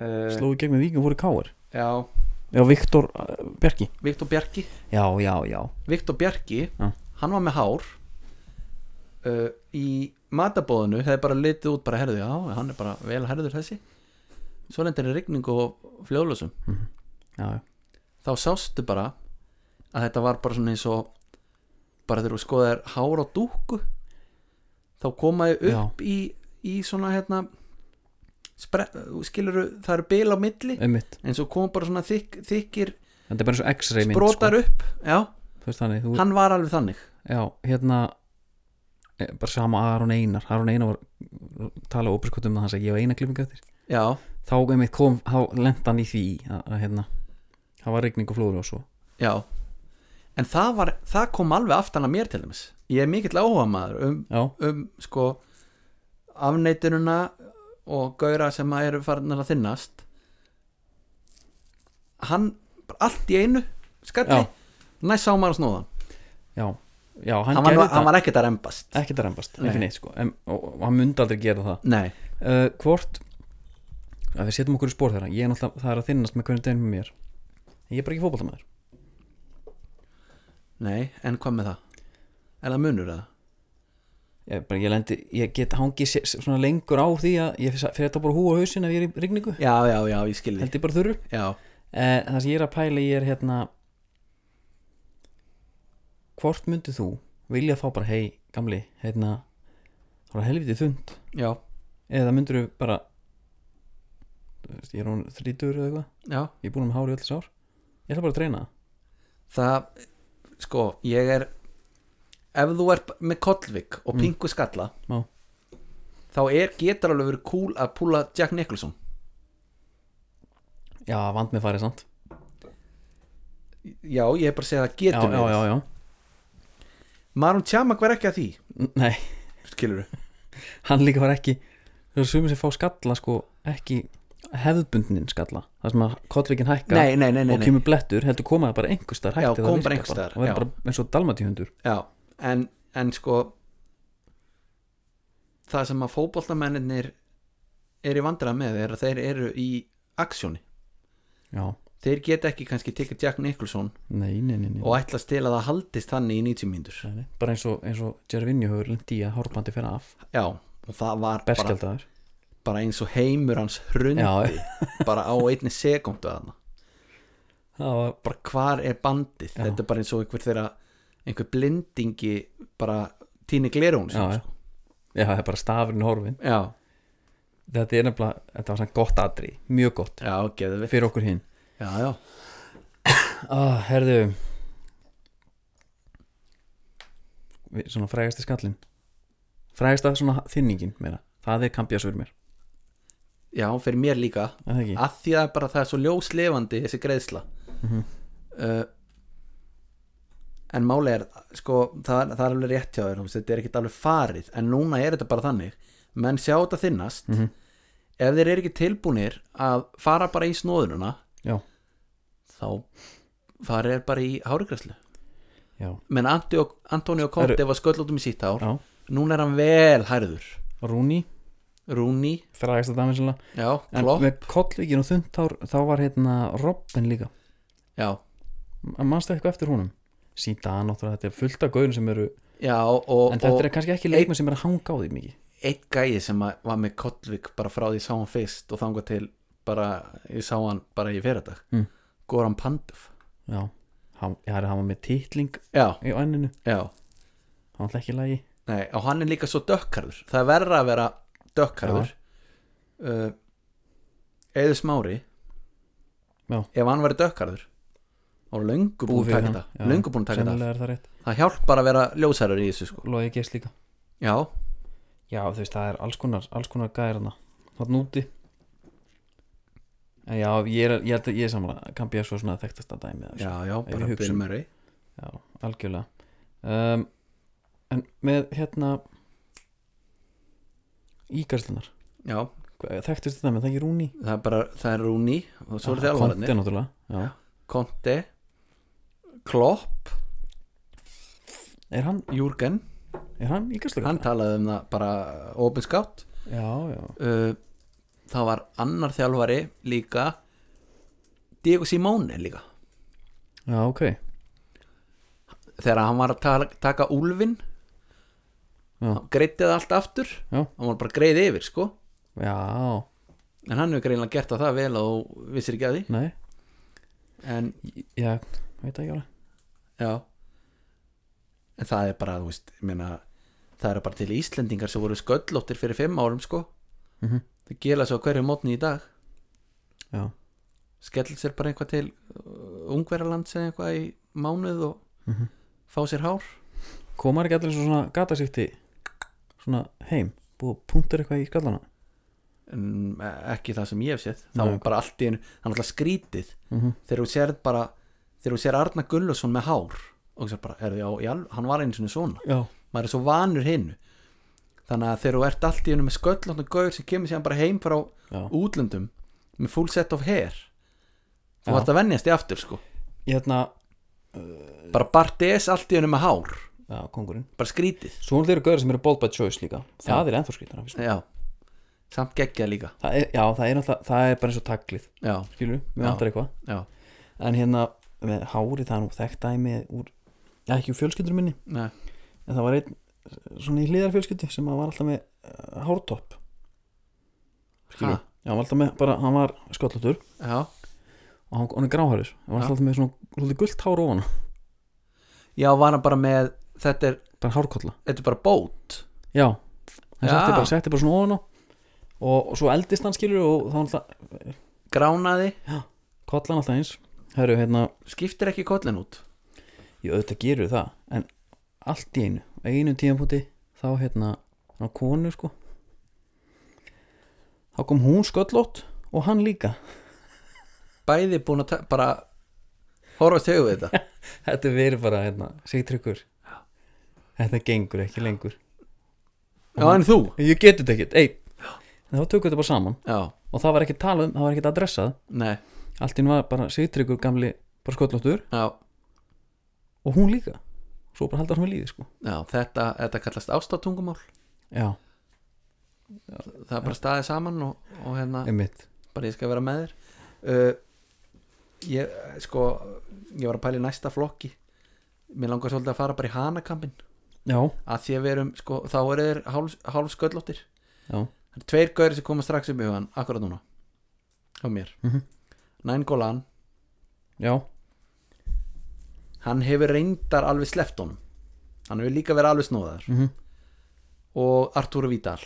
Speaker 3: uh,
Speaker 1: slóðu gegn með Víkjum fóru káir
Speaker 3: já,
Speaker 1: Já, Viktor uh, Bjarki
Speaker 3: Viktor Bjarki
Speaker 1: Já, já, já
Speaker 3: Viktor Bjarki
Speaker 1: Já.
Speaker 3: hann var með hár uh, í matabóðinu hefði bara litið út bara herðu já, hann er bara vel herður þessi svo lendir í rigningu og fljóðlösum
Speaker 1: Já, já
Speaker 3: þá sástu bara að þetta var bara svona eins og bara þegar þú skoðar hár á dúku þá komaði upp í, í svona hérna spre, skiluru, það eru bil á milli
Speaker 1: Einmitt.
Speaker 3: en svo kom bara svona þykk, þykir
Speaker 1: Þetta er bara eins og x-ray mynd
Speaker 3: brotar upp, já,
Speaker 1: sko. Þú veist þannig, þú,
Speaker 3: hann var alveg þannig
Speaker 1: já, hérna eh, bara sama Aron Einar Aron Einar var talað óperskot um það hann sagði ég á eina klippingu eftir
Speaker 3: já,
Speaker 1: þá einmitt kom, þá lent hann í því að, að hérna, það var rigning og flóður og svo
Speaker 3: já en það, var, það kom alveg aftan að mér til dæmis ég er mikill áhuga maður um,
Speaker 1: já,
Speaker 3: um sko afneitununa og gauðra sem að eru farin að þinnast hann bara allt í einu skalli,
Speaker 1: Já.
Speaker 3: næst sá maður að snúða hann,
Speaker 1: já, já, hann,
Speaker 3: hann, var,
Speaker 1: gerði
Speaker 3: nú- hann
Speaker 1: þetta
Speaker 3: var ekkert að rembast
Speaker 1: ekkert að rembast,
Speaker 3: Nei.
Speaker 1: ekki neitt sko en, og, og hann myndi aldrei gera það
Speaker 3: nei,
Speaker 1: uh, hvort, að við setjum okkur í spór þeirra ég er náttúrulega, það er að þinnast með hvernig deginn með mér ég er bara ekki fótboltamæður
Speaker 3: nei, en hvað með það er það munur eða?
Speaker 1: ég, bara, ég, lendi, ég get hangið sé- svona lengur á því að ég fyrir þetta bara húa hausin ef ég er í rigningu
Speaker 3: já, já, já, ég skilði
Speaker 1: held ég bara þurru
Speaker 3: já,
Speaker 1: Eh, Það sem ég er að pæla í er hérna Hvort myndið þú vilja fá bara hei gamli hérna það var helviti þund
Speaker 3: já,
Speaker 1: eða myndir þú bara þú veist, ég er hún þrítur eða eitthvað
Speaker 3: já
Speaker 1: ég er búin með hári öll þess ár ég ætla bara að treyna það
Speaker 3: það, sko, ég er ef þú er með kollvik og pingu skalla
Speaker 1: Mm. Já.
Speaker 3: þá er getur alveg verið cool að púla Jack Nicholson
Speaker 1: Já, vand með farið samt
Speaker 3: Já, ég er bara að segja að það
Speaker 1: Já,
Speaker 3: getur
Speaker 1: já, já, já,
Speaker 3: Marum Tjamak var ekki að því,
Speaker 1: N- Nei,
Speaker 3: skilur við
Speaker 1: hann líka var ekki Það eru sumir sem fá skalla sko ekki hefðbundnin skalla það sem að kollvíkin hækka
Speaker 3: Nei, nei, nei, nei,
Speaker 1: og
Speaker 3: nei.
Speaker 1: kemur blettur heldur komaði bara einhverstaðar
Speaker 3: Já,
Speaker 1: hætti það
Speaker 3: kom
Speaker 1: að virka
Speaker 3: bara einhvers staðar,
Speaker 1: og
Speaker 3: já.
Speaker 1: verður bara eins og dalmatíhundur
Speaker 3: Já, en, en sko Það sem að fótboltamennir er í vandræða með er að þeir eru í aksjóni
Speaker 1: Já,
Speaker 3: Þeir geta ekki kannski tekið Jack Nicholson
Speaker 1: nei, nei, nei, nei.
Speaker 3: og ætlast til að það haldist þannig í 90 mínútur
Speaker 1: Nei, nei. bara eins og, eins og Gervinju hefur lendi í að hárbandi fyrir af
Speaker 3: Já, og það var bara,
Speaker 1: berskjaldar
Speaker 3: bara eins og heimur hans hrundi
Speaker 1: Já.
Speaker 3: bara á einni sekundu að hana
Speaker 1: það var
Speaker 3: bara hvar er bandið þetta er bara eins og einhver þeirra einhver blindingi bara tíni glerón
Speaker 1: já, já. já, það er bara stafurinn horfin
Speaker 3: já,
Speaker 1: þetta er nefnilega, þetta var svona gott atri mjög gott
Speaker 3: já, geðu við
Speaker 1: fyrir okkur hinn
Speaker 3: já, já,
Speaker 1: ah, herðu Við- svona frægasti skallin frægasta svona þynningin meira það er kampjasur mér,
Speaker 3: já, fyrir mér líka
Speaker 1: er það ekki?
Speaker 3: að því að bara það er svo ljóslefandi þessi greiðsla
Speaker 1: Mhm.
Speaker 3: uh, en máli er sko, það, er- það er alveg rétt hjá þér þú veist, þetta er ekkert alveg farið, en núna er þetta bara þannig menn sjá þetta þinnast
Speaker 1: Mhm.
Speaker 3: ef þeir eru ekki tilbúnir að fara bara í snóðununa
Speaker 1: já,
Speaker 3: þá farið er bara í hárigræslu
Speaker 1: já,
Speaker 3: menn Antio- Antonio Conte var sköll út um í sítt ár
Speaker 1: já
Speaker 3: núna er hann vel hærður
Speaker 1: Rúni
Speaker 3: Rúni
Speaker 1: Frægasta dæmi sannlega
Speaker 3: Já,
Speaker 1: En
Speaker 3: Klopp
Speaker 1: með kollvíkin og þundtár þá var hérna Robin líka
Speaker 3: Já,
Speaker 1: M- Manstu eitthvað eftir húnum? Síðan náttúrulega þetta er fullt af gauðin sem eru
Speaker 3: já og,
Speaker 1: En
Speaker 3: og
Speaker 1: þetta er kannski ekki leikmenn sem er að hanga á því mikið
Speaker 3: einn gæi sem að- var með Kollvik bara frá því ég sá hann fyrst og þangað til bara, ég sá hann bara í fyrardag
Speaker 1: Mm.
Speaker 3: Goran Panduf
Speaker 1: Já, hann, ég er að hafa með titling
Speaker 3: Já,
Speaker 1: í anninu
Speaker 3: já,
Speaker 1: Hann ætla ekki í lagi
Speaker 3: nei, og hann er líka svo dökkarður Það er verra að vera dökkarður uh, Eður Smári
Speaker 1: Já.
Speaker 3: Ef hann verið dökkarður og löngu búin að taka þetta löngu búin að taka þetta
Speaker 1: Sennilega er það rétt
Speaker 3: af. það hjálpar að vera ljósærar í þessu sko
Speaker 1: Lógi gest líka
Speaker 3: já,
Speaker 1: Já, þú veist, það er alls konar, alls konar gæðir hana Þannig úti En já, ég er, ég held að ég er samanlega Kan býja svo svona þekktasta dæmi eða
Speaker 3: já,
Speaker 1: svo.
Speaker 3: já,
Speaker 1: Ef
Speaker 3: bara
Speaker 1: ég hugsa
Speaker 3: Bill
Speaker 1: um-
Speaker 3: Murray
Speaker 1: já algjörlega um, En með hérna Ígarslunar
Speaker 3: já,
Speaker 1: Þekktast þetta með það ekki Rúni
Speaker 3: það er bara, það er Rúni og svo eru
Speaker 1: Já,
Speaker 3: þjálfararnir
Speaker 1: Conte náttúrulega já.
Speaker 3: Conte Klopp,
Speaker 1: Er hann,
Speaker 3: Jürgen
Speaker 1: er hann ígarslega?
Speaker 3: hann talaði um það bara opinskátt
Speaker 1: Já, já
Speaker 3: uh, það var annar þjálfari líka Diego Simone líka
Speaker 1: Já, ok
Speaker 3: þegar hann var að tala, taka úlfin
Speaker 1: Já.
Speaker 3: greiði það allt aftur
Speaker 1: Já.
Speaker 3: hann var bara greiði yfir sko
Speaker 1: Já,
Speaker 3: en hann hefur greinlega gert það vel og vissir ekki að því
Speaker 1: nei
Speaker 3: en
Speaker 1: Já, veit ekki alveg
Speaker 3: já en það er bara, þú veist, ég meina það eru bara til Íslendingar sem voru sköllóttir fyrir fimm árum sko
Speaker 1: Mhm.
Speaker 3: það gela svo hverju mótni í dag
Speaker 1: Já,
Speaker 3: skellir sér bara eitthvað til uh, ungverjalands eða eitthvað í mánuð og
Speaker 1: Mhm.
Speaker 3: fá sér hár
Speaker 1: komar ekki allir svo svona gatasýtti Svona heim Búið að punktur eitthvað í skallana
Speaker 3: en eh, ekki það sem ég hef séð þá
Speaker 1: Nei.
Speaker 3: bara allt í einu, það er alltaf skrítið
Speaker 1: mm -hmm.
Speaker 3: þegar þú sér bara þegar þú sér Arna Gunnlaugsson með hár og þú sér bara, er, já, já, hann var einu sinni svona
Speaker 1: Já,
Speaker 3: maður er svo vanur hinnu þannig að þegar þú ert allt í einu með sköllóttan gaur sem kemur síðan bara heim frá
Speaker 1: já
Speaker 3: útlöndum með full set of hair þú
Speaker 1: Já.
Speaker 3: vart að venjast í aftur sko
Speaker 1: Ég hérna,
Speaker 3: bara Bartes allt í hennu með hár
Speaker 1: já, kongurinn
Speaker 3: bara skrítið
Speaker 1: Svo hún eru gauður sem eru bold by choice líka Það er ennþá skrýtana
Speaker 3: já. samt geggjað líka
Speaker 1: það er, Já, það er, náttúrulega- það er bara eins og taglið
Speaker 3: já,
Speaker 1: Skilur, við
Speaker 3: Já.
Speaker 1: vantar eitthvað
Speaker 3: já,
Speaker 1: En hérna, með hári það er nú þekkt dæmi úr Já, ekki úr fjölskyldur minni
Speaker 3: nei,
Speaker 1: en það var einn svona í hlýðarfjölskyldu sem að var alltaf með uh, hártopp skilur
Speaker 3: Ha?
Speaker 1: já, hann var alltaf með, bara, hann var skollutur
Speaker 3: já
Speaker 1: og hann, hann er gráhæris, hann var
Speaker 3: Ha?
Speaker 1: alltaf með svona hluti gullt hár ofan á,
Speaker 3: já, var hann bara með þetta er,
Speaker 1: bara hárkolla
Speaker 3: þetta er bara bót
Speaker 1: já, hann
Speaker 3: Já.
Speaker 1: setti bara, setti bara svona ofan á og, og svo eldist hann skilur og þá alltaf,
Speaker 3: gránaði,
Speaker 1: kollan alltaf eins herru, hérna,
Speaker 3: skiptir ekki kollin út
Speaker 1: ég auðvitað gerur það en allt í einu, á einu tíðanpúti þá hérna, hann var konu sko þá kom hún sköllótt og hann líka
Speaker 3: bæði búin að ta- bara horfast í augu við þetta
Speaker 1: Þetta verið bara hérna, sigtryggur Þetta gengur ekki lengur
Speaker 3: já, en þú
Speaker 1: Ég getur þetta ekkert, ei En þá tökum við þetta bara saman
Speaker 3: já,
Speaker 1: Og það var ekki talað um, það var ekki adressað
Speaker 3: nei,
Speaker 1: Allt inn var bara sigtryggur gamli bara skollóttur
Speaker 3: já,
Speaker 1: Og hún líka Svo bara haldið hann með lífi sko
Speaker 3: já þetta, þetta kallast ástatungumál
Speaker 1: Já,
Speaker 3: það er bara staðið saman og, og hérna
Speaker 1: einmitt
Speaker 3: bara ég skal vera með þér uh, ég sko ég var að pæla í næsta flokki mér langar svolítið að fara bara í hanakampin
Speaker 1: Já,
Speaker 3: að því að við erum sko þá eru þeir hálf, hálf sköllóttir
Speaker 1: já,
Speaker 3: það eru tveir gauri sem koma strax upp í hugan akkurat núna á mér
Speaker 1: Mhm.
Speaker 3: Næn Gólan
Speaker 1: já
Speaker 3: hann hefur reyndar alveg sleppt honum hann hefur líka verið alveg snóðar
Speaker 1: mhm.
Speaker 3: og Artúru Vítal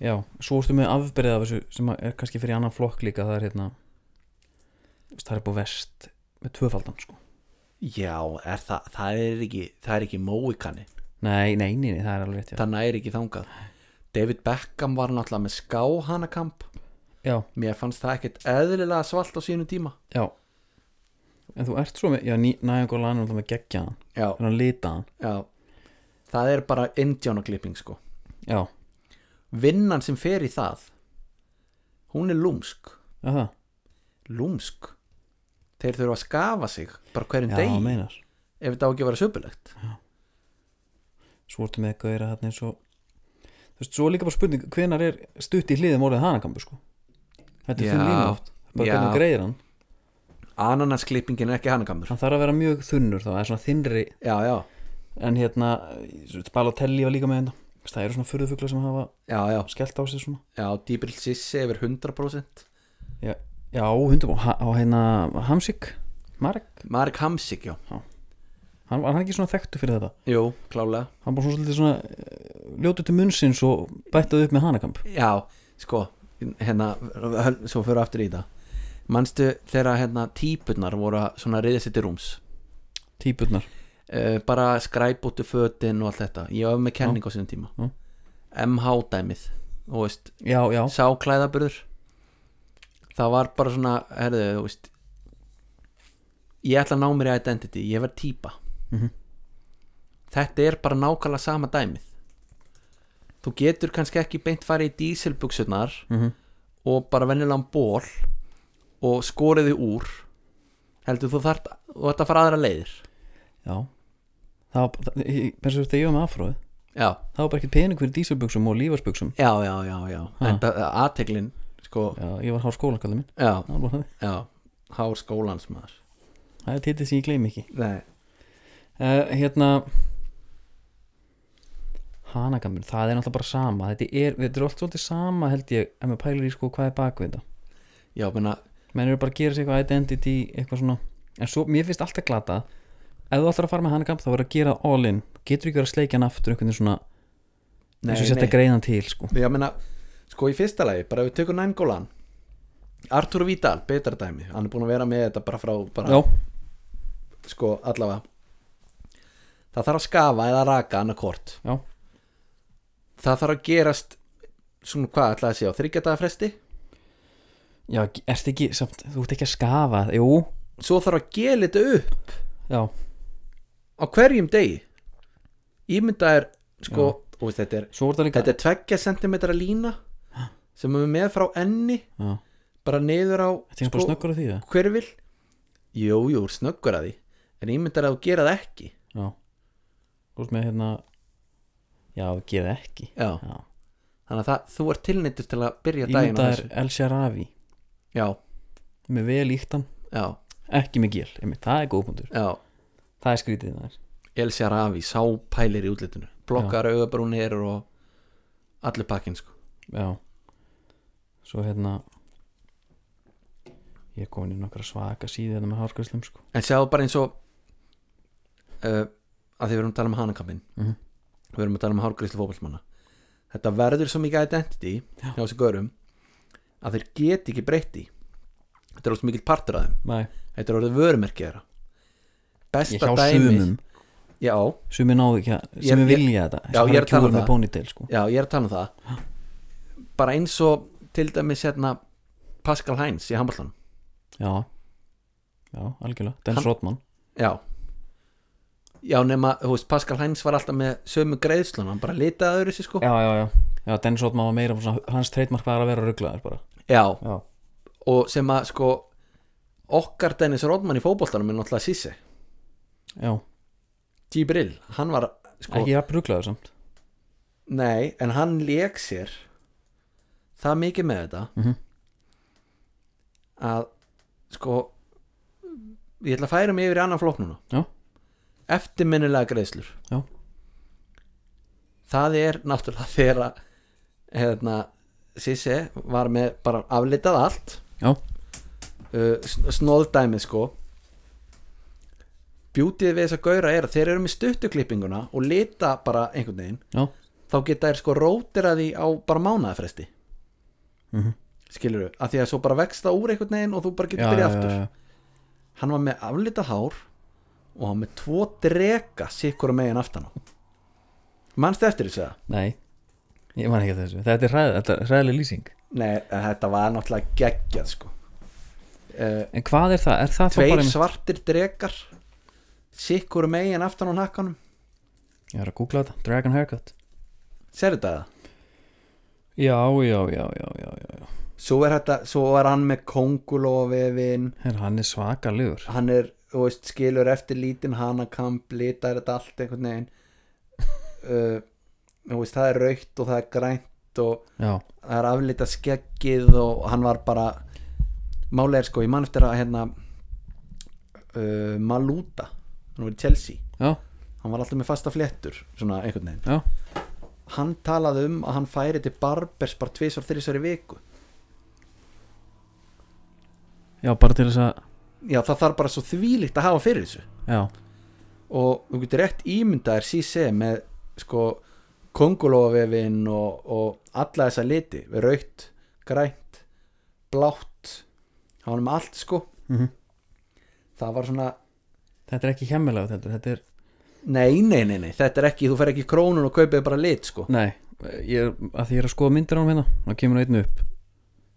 Speaker 1: Já, svo ertu með afbyrðið af þessu sem er kannski fyrir annan flokk líka það er hérna þú veist, það er búið vest með tvöfaldan sko
Speaker 3: já er það, það er ekki það er ekki móikanni
Speaker 1: Nei, nei, nei, nei, það er alveg rétt já,
Speaker 3: það næri ekki þangað David Beckham var náttúrulega með ská hanakamp
Speaker 1: já,
Speaker 3: mér fannst það ekkert eðlilega svalt á sínum tíma
Speaker 1: já. En þú ert svo með, já, næjangur lanum það með geggja hann
Speaker 3: já,
Speaker 1: Þannig að lita hann
Speaker 3: já það er bara indjánaklipping sko
Speaker 1: Já,
Speaker 3: vinnan sem fer í það hún er lúmsk
Speaker 1: já það
Speaker 3: lúmsk þeir þurfa að skafa sig bara hverjum
Speaker 1: Já,
Speaker 3: degi
Speaker 1: meinar
Speaker 3: ef þetta á ekki að vera söpulegt
Speaker 1: Svo ertu með gauðir að þarna eins og þú veist, svo er líka bara spurning hvenar er stutt í hliðum orðið hanakambu sko þetta er
Speaker 3: Já.
Speaker 1: þunn lína oft bara
Speaker 3: Já.
Speaker 1: hvernig þú greiðir hann,
Speaker 3: Ananasklippingin er ekki hanakamur
Speaker 1: hann þarf að vera mjög þunnur þá, það er svona þinnri
Speaker 3: Já, já,
Speaker 1: en hérna, Balotelli var líka með þetta Þú veist, það eru svona furðufugla sem hafa
Speaker 3: já, já,
Speaker 1: skellt á sig svona
Speaker 3: já Dýbril Sissi yfir 100%
Speaker 1: já, hundum, og ha- og hérna Hamsik, Marek
Speaker 3: Mark Hamsik, já
Speaker 1: hann var hann ekki svona þekktu fyrir þetta
Speaker 3: Jú, klálega
Speaker 1: hann bara svona svolítið svona ljótið til munnsins og bættaði upp með hanakamp
Speaker 3: Já, sko hérna, höl- svo fyrir aftur í það manstu þegar hérna típunar voru að svona reyða sér til rúms
Speaker 1: típurnar
Speaker 3: uh, bara skræbúttu fötin og allt þetta ég var með kenning á sinni tíma
Speaker 1: Já.
Speaker 3: MH dæmið þú veist,
Speaker 1: já, já,
Speaker 3: sáklæðaburður það var bara svona herðu, þú veist ég ætla að ná mér í identity, ég verð típa
Speaker 1: Mhm.
Speaker 3: þetta er bara nákvæmlega sama dæmið þú getur kannski ekki beint farið í dísilbuksunar
Speaker 1: mm
Speaker 3: og bara venjulegan ból og skorið þið úr heldur þú þart og þetta fara aðra leiðir
Speaker 1: já það var, það, ég- pensu þegar ég var með afróð
Speaker 3: já,
Speaker 1: það var bara ekki pening fyrir dísilbuxum og lífarsbuxum
Speaker 3: já, já, já, já.
Speaker 1: Ha.
Speaker 3: en aðteklin sko,
Speaker 1: já, ég var hár skólakallið minn
Speaker 3: já,
Speaker 1: það, var bara þannig.
Speaker 3: já hár skólans maður
Speaker 1: það er títið sem ég gleymi ekki
Speaker 3: Nei.
Speaker 1: uh, hérna hanakamur, það er náttúrulega bara sama þetta er, þetta er allt svolítið sama held ég ef maður pælar í sko hvað er bak við þetta
Speaker 3: já, menna,
Speaker 1: menn eru bara að gera sér eitthvað identity eitthvað svona, en svo mér finnst alltaf glata ef þú ætlar að fara með hanakamp þá verður að gera all in, getur ekki verið að sleikja hann aftur einhvern veginn svona,
Speaker 3: nei,
Speaker 1: eins og setja greiðan til sko.
Speaker 3: já, menna, sko í fyrsta lagi bara ef við tökum nængólan Artur Vídal, betra dæmi hann er búin að vera með þetta bara frá bara,
Speaker 1: já,
Speaker 3: sko, allavega það þarf að skafa eða raka annarkort
Speaker 1: já,
Speaker 3: það þarf að gerast svona hvað ætlaði að sé á þryggjadaða fresti
Speaker 1: já erst ekki samt, þú ert ekki að skafa, jú
Speaker 3: svo þarf að gela þetta upp
Speaker 1: já,
Speaker 3: á hverjum degi ímynda er sko og veist, þetta, er,
Speaker 1: svo voru það líka
Speaker 3: þetta er tveggja sentimetra lína sem er með frá enni
Speaker 1: já,
Speaker 3: bara niður á sko,
Speaker 1: þetta er bara snöggur að því það
Speaker 3: hverfil jú, jú, snöggur að því en ímynda er að þú gera það ekki
Speaker 1: já, þú ert með hérna já, gera ekki
Speaker 3: já.
Speaker 1: já,
Speaker 3: þannig að það, þú er tilneittur til að byrja daginn á
Speaker 1: ímyndaðar
Speaker 3: þessu
Speaker 1: El Sharavi
Speaker 3: já,
Speaker 1: með vel íktan,
Speaker 3: já,
Speaker 1: ekki með gél einmitt, það er góðbundur,
Speaker 3: já
Speaker 1: það er skrítið það er
Speaker 3: Elsa Ravi, sápælir í útlitinu blokkar auðabrúnir og allur pakkinn sko
Speaker 1: Já Svo hérna Ég er komin í nokkra svaka síði þetta með hárgræslum sko
Speaker 3: En sjáðu bara eins og uh, að því við erum að tala um hanakampin
Speaker 1: Mhm.
Speaker 3: við erum að tala um hárgríslu fótballmanna þetta verður svo mikið identity hjá þessu görum að þeir geti ekki breytti þetta er alveg mikið partur að þeim
Speaker 1: Nei,
Speaker 3: þetta er orðið vörumerki þeirra
Speaker 1: ég
Speaker 3: besta
Speaker 1: hjá
Speaker 3: dæmi
Speaker 1: sumum
Speaker 3: já,
Speaker 1: Sumir náðu ekki að,
Speaker 3: Ég-
Speaker 1: sumir
Speaker 3: ég-
Speaker 1: vilja þetta
Speaker 3: Já, ég er að tala um
Speaker 1: það
Speaker 3: það.
Speaker 1: með ponytail sko
Speaker 3: já, ég er að tala um það bara eins og til dæmis hérna Pascal Heinz í handballanum
Speaker 1: Já, já, algjörlega Dennis
Speaker 3: Hann-
Speaker 1: Rodman
Speaker 3: já já, nema, þú veist, Pascal Heinz var alltaf með sömu greiðslun, hann bara litaði öðru sér sko
Speaker 1: Já, já, já Já, Dennis Rodman var meira svona, hans treytmark var að vera rugglaður bara
Speaker 3: já.
Speaker 1: Já,
Speaker 3: og sem að sko okkar Dennis Rodman í fótboltanum er náttúrulega Sisse
Speaker 1: já,
Speaker 3: Gibril, hann var sko
Speaker 1: ekki jafn rugglaður samt
Speaker 3: nei, en hann leik sér það mikið með þetta
Speaker 1: Mhm.
Speaker 3: að sko ég ætla að færa mig yfir í annan flokk núna
Speaker 1: Já.
Speaker 3: eftirminnilega greiðslur
Speaker 1: Já.
Speaker 3: það er náttúrulega þegar að hérna, Sisse var með bara aflitað allt
Speaker 1: Já,
Speaker 3: uh, snóðdæmið sko bjútið við þess að gauðra er að þeir eru með stuttuklippinguna og lita bara einhvern veginn
Speaker 1: já,
Speaker 3: þá geta þær sko rótiraði á bara mánaðafresti
Speaker 1: Mhm.
Speaker 3: skilur við, að því að svo bara vext það úr einhvern veginn og þú bara
Speaker 1: já,
Speaker 3: getur byrjað
Speaker 1: já,
Speaker 3: aftur
Speaker 1: já,
Speaker 3: hann var með aflita hár og hann með tvo drega sikkur megin aftan á mannstu eftir þessu það?
Speaker 1: Nei, ég man ekki að þessu Þetta er hræð, þetta er hræðileg lýsing
Speaker 3: Nei, en þetta var náttúrulega geggjað sko uh,
Speaker 1: En hvað er það? Er það þá bara
Speaker 3: tveir
Speaker 1: einmitt-
Speaker 3: svartir dregar sikkur megin aftan á nakkanum
Speaker 1: Ég er að googla þetta, Dragon Haircut
Speaker 3: Serðu þetta það?
Speaker 1: Já, já, já, já, já, já, já.
Speaker 3: Svo er, þetta, svo er hann með kongulofefin
Speaker 1: Her, hann er svakalegur
Speaker 3: Hann er, þú veist, skilur eftir lítinn hanakamp Litar þetta allt einhvern veginn uh, þú veist, það er raukt og það er grænt og
Speaker 1: já,
Speaker 3: það er aflita skeggið og hann var bara málega sko, ég man eftir að hérna uh, Maluta hann var í Chelsea,
Speaker 1: já,
Speaker 3: hann var alltaf með fasta fléttur svona einhvern veginn
Speaker 1: já,
Speaker 3: hann talaði um að hann færi til Barbers bara tvisvar þrísvar í viku
Speaker 1: já, bara til þess að
Speaker 3: já það þarf bara svo þvílíkt að hafa fyrir þessu
Speaker 1: já,
Speaker 3: og þú getur rétt ímyndaðir Sise með sko kongulofevin og, og alla þessa liti, raukt, grænt blátt hann var með allt sko
Speaker 1: Mhm.
Speaker 3: það var svona,
Speaker 1: þetta er ekki hemmilega þetta, þetta er,
Speaker 3: nei, nei, nei, nei þetta er ekki, þú fer ekki í krónun og kaupið bara lit sko
Speaker 1: nei ég, er- að því ég er að skoða myndir á hann hérna þá kemur hann einn upp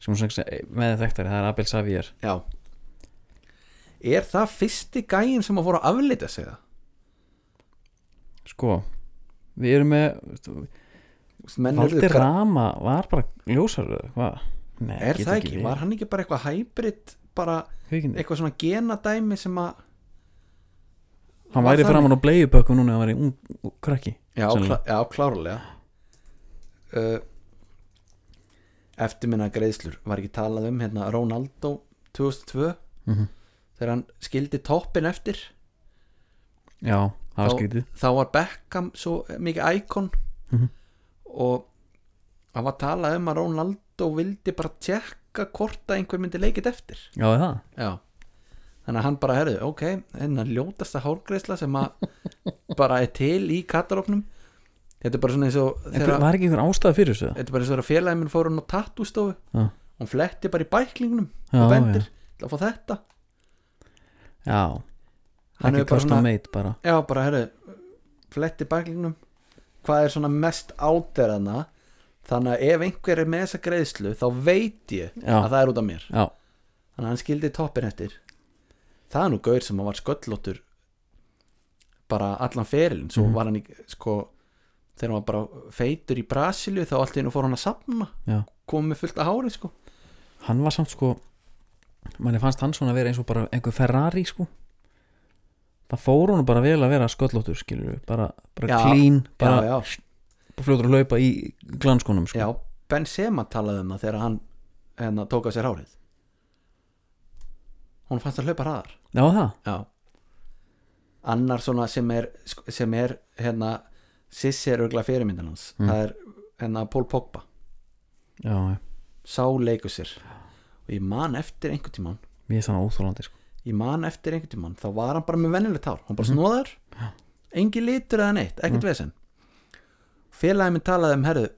Speaker 1: sem hún sagði eh, með þekktari, það er Abel Xavier
Speaker 3: já er það fyrsti gæin sem að fóra að aflita sig það
Speaker 1: sko, við erum með
Speaker 3: Þú veist, menn urðu
Speaker 1: Valdi
Speaker 3: gra-
Speaker 1: Rama var bara ljósaröð hvað? Nei,
Speaker 3: er
Speaker 1: get
Speaker 3: það ekki,
Speaker 1: verið.
Speaker 3: var hann ekki bara eitthvað hybrid bara
Speaker 1: Huginn-
Speaker 3: eitthvað svona genadæmi sem að
Speaker 1: hann
Speaker 3: var
Speaker 1: væri
Speaker 3: það
Speaker 1: framan á bleiubökkum núna ef hann væri ung ung krakki
Speaker 3: Já,
Speaker 1: Sennilega.
Speaker 3: klá, já klárlega uh, Eftirminna greiðslur var ekki talað um hérna Ronaldo 2002
Speaker 1: Mhm.
Speaker 3: þegar hann skildi toppin eftir
Speaker 1: já, það var
Speaker 3: Þá-
Speaker 1: skrítið
Speaker 3: þá var Beckham svo mikið íkon
Speaker 1: Mhm.
Speaker 3: og hann var talað um að Ronaldo vildi bara tjekka hvort að einhver myndi leikið eftir
Speaker 1: já, er það,
Speaker 3: Já Þannig að hann bara herði, ok, hennar ljótasta hárgreisla sem að bara er til í katalóknum Þetta er bara svona eins og
Speaker 1: Einhver, var ekki einhver ástæða fyrir þessu
Speaker 3: þetta er bara svo að félagin minn fór hann á tattústofu
Speaker 1: Já.
Speaker 3: hún fletti bara í bæklingnum
Speaker 1: Já,
Speaker 3: og bendir, ætla að fá þetta
Speaker 1: já,
Speaker 3: hann
Speaker 1: ekki
Speaker 3: hefur bara
Speaker 1: custom
Speaker 3: svona,
Speaker 1: made bara
Speaker 3: já bara herru fletti bæklingnum hvað er svona mest átverðana þannig að ef einhver er með þessa greiðslu þá veit ég
Speaker 1: Já.
Speaker 3: að það er út af mér
Speaker 1: já,
Speaker 3: þannig að hann skildi toppin eftir það er nú gaur sem hann var sköllóttur bara allan ferilin svo
Speaker 1: Mhm.
Speaker 3: var hann í, sko þegar hann var bara feitur í Brasilju þá allt í einu fór hann að safna
Speaker 1: Já.
Speaker 3: komið fullt að hári sko
Speaker 1: hann var samt sko manni fannst hann svona að vera eins og bara einhver Ferrari sko það fór hún bara vel að vera sköllóttur skilur við, bara, bara
Speaker 3: Já,
Speaker 1: clean
Speaker 3: já,
Speaker 1: bara
Speaker 3: já.
Speaker 1: fljótur að laupa í glanskonum sko.
Speaker 3: Já, Benzema talaði um það þegar hann hérna, tók að sér hárið Hún fannst að hlaupa hraðar
Speaker 1: já það,
Speaker 3: Já Annar svona sem er sem er hérna Sissi er örgla fyrirmyndan hans það er hérna Paul Pogba
Speaker 1: já, já.
Speaker 3: sá leikur sér og ég man eftir einhvern tímann
Speaker 1: mér er þannig óþólandi sko.
Speaker 3: ég man eftir einhvern tímann þá var hann bara með venjulegt hár hann bara snóðar, engin litur eða neitt ekkert vesen félagið minn talaði um herðu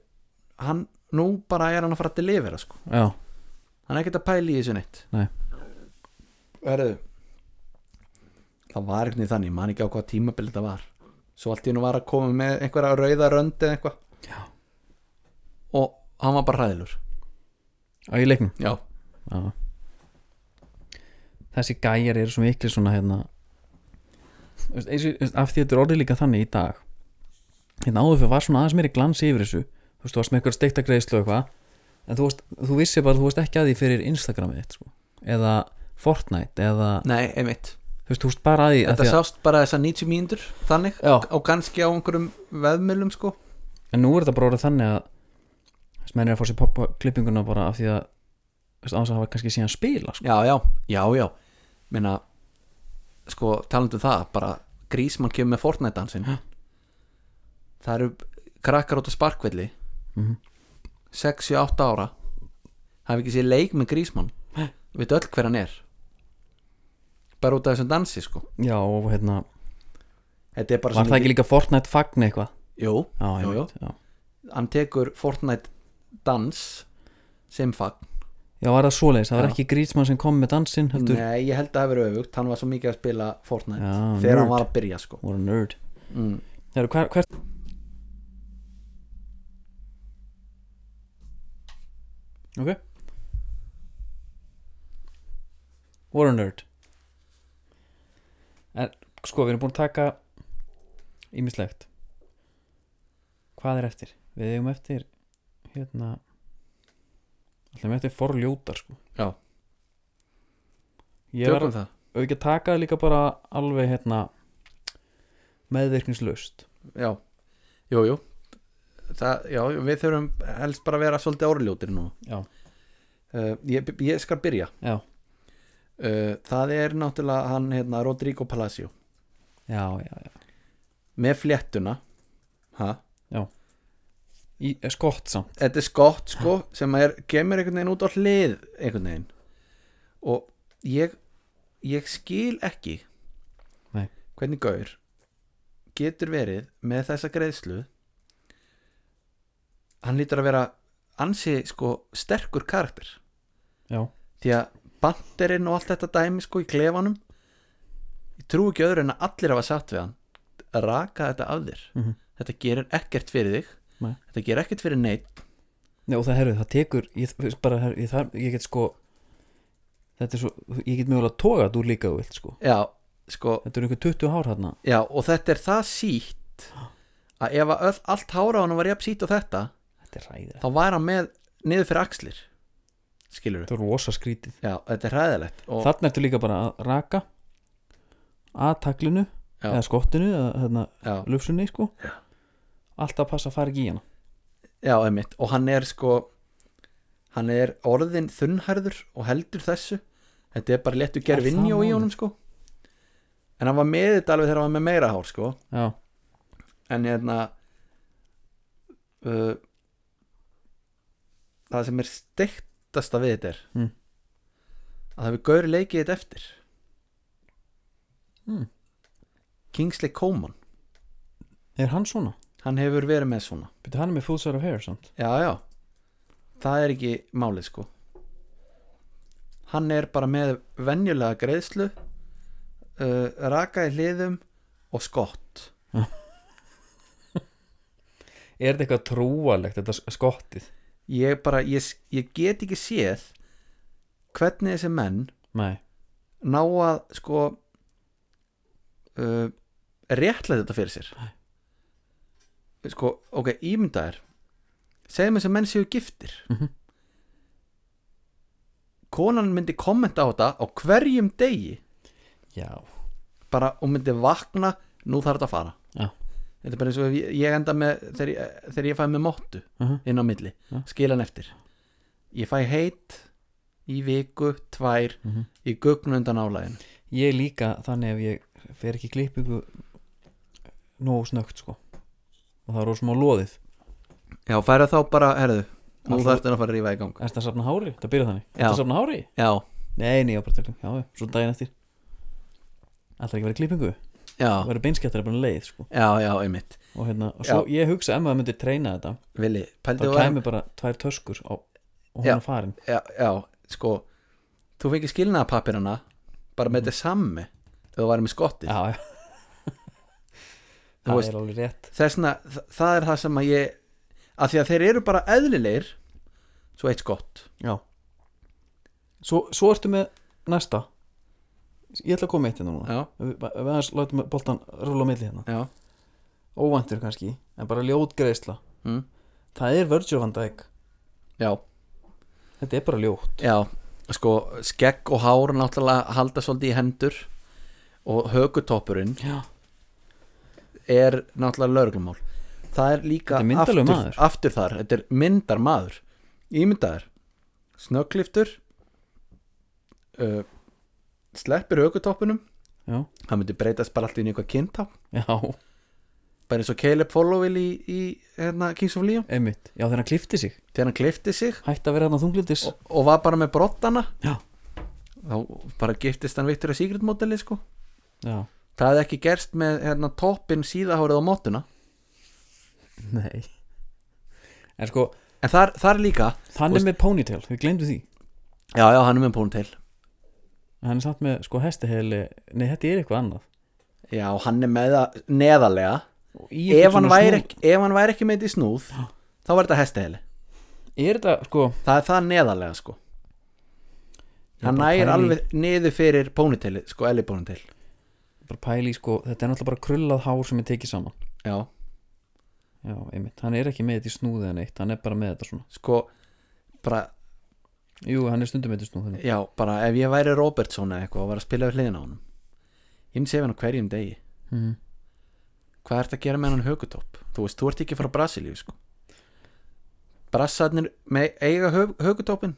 Speaker 3: hann, nú bara er hann að fara til lifera sko
Speaker 1: já,
Speaker 3: hann er ekkert að pæla í þessu neitt
Speaker 1: Nei.
Speaker 3: Herðu, það var einhvern veginn þannig ég man ekki á hvað tímabil þetta var svo allt í hennu var að koma með einhverja rauða rönd eða eitthvað og hann var bara hræðilur
Speaker 1: á í leiknum
Speaker 3: já,
Speaker 1: Já. þessi gæjar eru svo miklu svona hérna þú veist, eins og- þú veist, af því þetta er orðið líka þannig í dag hérna áður fyrir var svona aðeins meiri glans yfir þessu þú veist, þú varst með eitthvað steikta greiðslu og eitthvað en þú, varst, þú vissi bara að þú varst ekki að því fyrir Instagramið þitt sko. eða Fortnite eða
Speaker 3: nei, einmitt
Speaker 1: þú veist, þú varst bara að því að
Speaker 3: þetta
Speaker 1: því að,
Speaker 3: sást bara þessar 90 mínútur þannig
Speaker 1: Já.
Speaker 3: og kannski á einhverjum veðmjölum sko
Speaker 1: en nú er þetta bara orðið þannig að þú veist, menn er að fá sér poppa klippinguna bara af því að þú veist, á þess að hafa kannski síðan spila sko.
Speaker 3: já, já, já, já minna, sko, talandu um það bara grísmann kemur með Fortnite dansinn það eru krakkar út á sparkvelli
Speaker 1: Mhm.
Speaker 3: 6-8 ára hafi ekki séð leik með grísmann við öll hver hann er bara út af þessum dansi sko
Speaker 1: já og hérna,
Speaker 3: þetta er bara
Speaker 1: var það
Speaker 3: mikið-
Speaker 1: ekki líka Fortnite fagn eitthvað
Speaker 3: jú,
Speaker 1: já,
Speaker 3: jú, jú,
Speaker 1: einmitt, já.
Speaker 3: hann tekur Fortnite dans sem fag
Speaker 1: Já, var það svoleiðis, það var
Speaker 3: Já.
Speaker 1: ekki Grítsmann sem kom með dansinn heldur,
Speaker 3: Nei, ég held að það hafi verið öfugt Hann var svo mikið að spila Fortnite
Speaker 1: Já,
Speaker 3: Þegar
Speaker 1: nerd.
Speaker 3: hann var að byrja sko
Speaker 1: voru nerd
Speaker 3: mm.
Speaker 1: Heru, hver, hver, Ok voru nerd en, Sko, við erum búin að taka ímislegt Hvað er eftir? Við eigum eftir hérna Alltaf með eftir forljótar sko
Speaker 3: Já,
Speaker 1: Ég var
Speaker 3: tökum það
Speaker 1: og ekki að taka það líka bara alveg hérna meðvirkningslust
Speaker 3: Já, jú, jú það, já, við þurfum helst bara að vera svolítið árljótir nú
Speaker 1: Já.
Speaker 3: uh, ég, ég skal byrja
Speaker 1: Já.
Speaker 3: uh, það er náttúrulega hann hérna, Rodrigo Palacio
Speaker 1: já, já, já.
Speaker 3: með fléttuna ha?
Speaker 1: Í, eh, skott samt
Speaker 3: þetta er skott sko sem er, kemur einhvern veginn út á hlið einhvern veginn og ég, ég skil ekki
Speaker 1: Nei.
Speaker 3: hvernig gaur getur verið með þessa greiðslu hann lítur að vera ansi sko sterkur karakter
Speaker 1: Já.
Speaker 3: því að banderinn og allt þetta dæmi sko í klefanum ég trú ekki öðru en að allir hafa satt við hann að raka þetta af þér
Speaker 1: Mhm.
Speaker 3: þetta gerir ekkert fyrir þig
Speaker 1: Nei.
Speaker 3: þetta gerir ekkert fyrir neitt
Speaker 1: Nei, og það herru, það tekur ég, veist bara, herru, ég, þar, ég get sko þetta er svo, ég get mögulega tógat úr líka þú vilt sko,
Speaker 3: Já, sko,
Speaker 1: þetta eru einhver 20 hár hérna
Speaker 3: já, og þetta er það sítt að ef að öll, allt hára á hann var jafn sítt og þetta
Speaker 1: þetta er ræðið,
Speaker 3: þá var hann með niður fyrir axlir skilur við,
Speaker 1: þetta er rosa skrítið
Speaker 3: já, þetta er hræðilegt og,
Speaker 1: þarna ertu líka bara að raka að taklinu,
Speaker 3: Já.
Speaker 1: eða skottinu eða hérna,
Speaker 3: já,
Speaker 1: lufsunni sko allt að passa að fara ekki í hana
Speaker 3: já, einmitt, og hann er sko hann er orðin þunnhærður og heldur þessu þetta er bara léttu gervinjó
Speaker 1: það
Speaker 3: í
Speaker 1: málið?
Speaker 3: honum sko en hann var með þetta alveg þegar hann var með meira hár sko
Speaker 1: já,
Speaker 3: en hérna uh, það sem er steiktasta við þetta er
Speaker 1: Mm.
Speaker 3: að það hefur gauri leikið þetta eftir
Speaker 1: Mm.
Speaker 3: Kingsley Coman
Speaker 1: er hann svona?
Speaker 3: hann hefur verið með svona
Speaker 1: Byrju, hann er með full set of hair samt
Speaker 3: já já, það er ekki málið sko hann er bara með venjulega greiðslu uh, raka í hliðum og skott
Speaker 1: er þetta eitthvað trúalegt, þetta sk- skottið?
Speaker 3: ég bara, ég, ég get ekki séð hvernig þessi menn
Speaker 1: nei,
Speaker 3: ná að sko uh, réttlega þetta fyrir sér sko, ok, ímyndaðir segjum þess að menn séu giftir
Speaker 1: Mhm.
Speaker 3: konan myndi kommenta á þetta á hverjum degi
Speaker 1: já,
Speaker 3: bara og myndi vakna nú þarf þetta að fara
Speaker 1: Já.
Speaker 3: þetta er bara eins og ef ég- ég enda með þegar ég, þegar ég fæ með móttu
Speaker 1: Mhm.
Speaker 3: inn á milli,
Speaker 1: Já.
Speaker 3: skila hann eftir ég fæ heit í viku, tvær,
Speaker 1: Mhm.
Speaker 3: ég gugn undan álægin
Speaker 1: ég líka þannig ef ég fer ekki klippingu nógu snögt sko og það er rosa smá loðið
Speaker 3: Já, færa þá bara, herðu Nú
Speaker 1: Alltaf-
Speaker 3: þarf þetta að fara að rífa í gang
Speaker 1: Ertu að safna hári? Það byrja þannig
Speaker 3: Já.
Speaker 1: Ertu að safna hári?
Speaker 3: Já,
Speaker 1: Nei, nei, ég var bara að tala um- Já, já, svo daginn eftir Alltaf ekki að vera í klippingu
Speaker 3: já,
Speaker 1: Það verður beinskjættar bara leið sko
Speaker 3: já, já, einmitt
Speaker 1: Og hérna, og svo ég hugsa ef maður myndi treyna þetta
Speaker 3: Vili, pældu
Speaker 1: Þá
Speaker 3: að
Speaker 1: kæmi bara tvær töskur á, og hún
Speaker 3: Já.
Speaker 1: er farin
Speaker 3: já, já, sko Þú fengið skilnaða pappirana Bara með þetta sammi Ef þú væri með skottið
Speaker 1: Já, já
Speaker 3: Þú
Speaker 1: Það
Speaker 3: veist-
Speaker 1: er alveg rétt
Speaker 3: Þessna, það er það sem að ég Af því að þeir eru bara eðlilegir Svo eitt skott
Speaker 1: Já Svo, svo ertu með næsta Ég ætla að koma með eitt hérna núna
Speaker 3: Já,
Speaker 1: Ef Við, ef við aðeins látum boltan rúla á milli hérna
Speaker 3: já,
Speaker 1: Óvæntur kannski, en bara ljót greiðsla
Speaker 3: mm,
Speaker 1: Það er Virgil van Dijk
Speaker 3: já,
Speaker 1: Þetta er bara ljótt
Speaker 3: já Sko, skegg og hár náttúrulega halda svolítið í hendur Og hökutoppurinn
Speaker 1: Já
Speaker 3: er náttúrulega lögreglumál það er líka
Speaker 1: Þetta er myndarlegur
Speaker 3: aftur,
Speaker 1: maður.
Speaker 3: aftur þar, þetta er myndar maður ímyndaður snöggliftur uh, sleppir aukutoppunum
Speaker 1: Já,
Speaker 3: hann myndi breytast bara alltaf inn í eitthvað kynntá
Speaker 1: já,
Speaker 3: bara eins og Caleb Followell í, í hérna, Kings of Leon
Speaker 1: einmitt Já, þegar hann klifti sig
Speaker 3: þegar hann klifti sig
Speaker 1: Hætti að vera hann á þunglindis
Speaker 3: og, og var bara með brottana
Speaker 1: Já.
Speaker 3: þá bara giftist hann vittur að Sigrid modeli sko
Speaker 1: Já
Speaker 3: það hefði ekki gerst með hérna, toppin síðahárið á mótuna
Speaker 1: Nei En sko,
Speaker 3: en þar, þar líka,
Speaker 1: hann
Speaker 3: Og-
Speaker 1: er með ponytail, við glemdu því
Speaker 3: já já hann er með pún til
Speaker 1: Hann er samt með, sko, hestiheli Nei, þetta er eitthvað annað
Speaker 3: Já, hann er með það neðarlega
Speaker 1: Og í eitthvað
Speaker 3: ef hann,
Speaker 1: svona
Speaker 3: væri
Speaker 1: snúð-
Speaker 3: ekki, ef hann væri ekki með þetta í snúð þá var þetta hestaheli
Speaker 1: Er þetta, sko
Speaker 3: Það er það neðarlega sko
Speaker 1: Ég er bara að
Speaker 3: Hann
Speaker 1: pæla
Speaker 3: nægir
Speaker 1: í-
Speaker 3: alveg niður fyrir póniteli sko elli pónitel
Speaker 1: Bara pæli, í, sko, þetta er náttúrulega bara krullað hár sem er tekið saman
Speaker 3: Já,
Speaker 1: Já, einmitt, hann er ekki með þetta í snúðið en eitt Hann er bara með þetta svona
Speaker 3: sko bara,
Speaker 1: Jú, hann er stundum með þetta í snúðið
Speaker 3: já, bara ef ég væri Robertson eða eitthvað og var að spila við hliðina á honum ég myndi segja hann á hverjum degi
Speaker 1: mm.
Speaker 3: Hvað ertu að gera með hann högutopp? Þú veist, þú ert ekki frá Brasilíu sko brassarnir með eiga hög, högutópin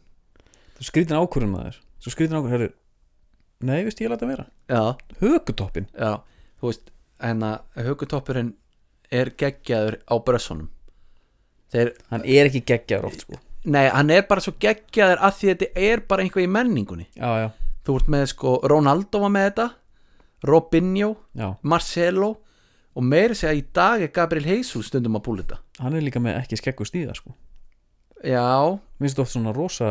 Speaker 1: Þú skrítin ákvörðum að þér Svo skrítin ákvörðum, herru Nei, veist ég að þetta vera
Speaker 3: já,
Speaker 1: Högutoppin
Speaker 3: já, þú veist en að högutópurinn er geggjaður á brössunum þeir,
Speaker 1: Hann er ekki geggjaður oft sko
Speaker 3: nei, hann er bara svo geggjaður að því þetta er bara einhver í menningunni
Speaker 1: Já, já,
Speaker 3: þú ert með sko, Ronaldo var með þetta Robinho,
Speaker 1: já
Speaker 3: Marcelo og meiri segja í dag er Gabriel Jesus stundum að búla þetta
Speaker 1: Hann er líka með ekki skeggu stíða sko
Speaker 3: já,
Speaker 1: Minnst þetta oft svona rosa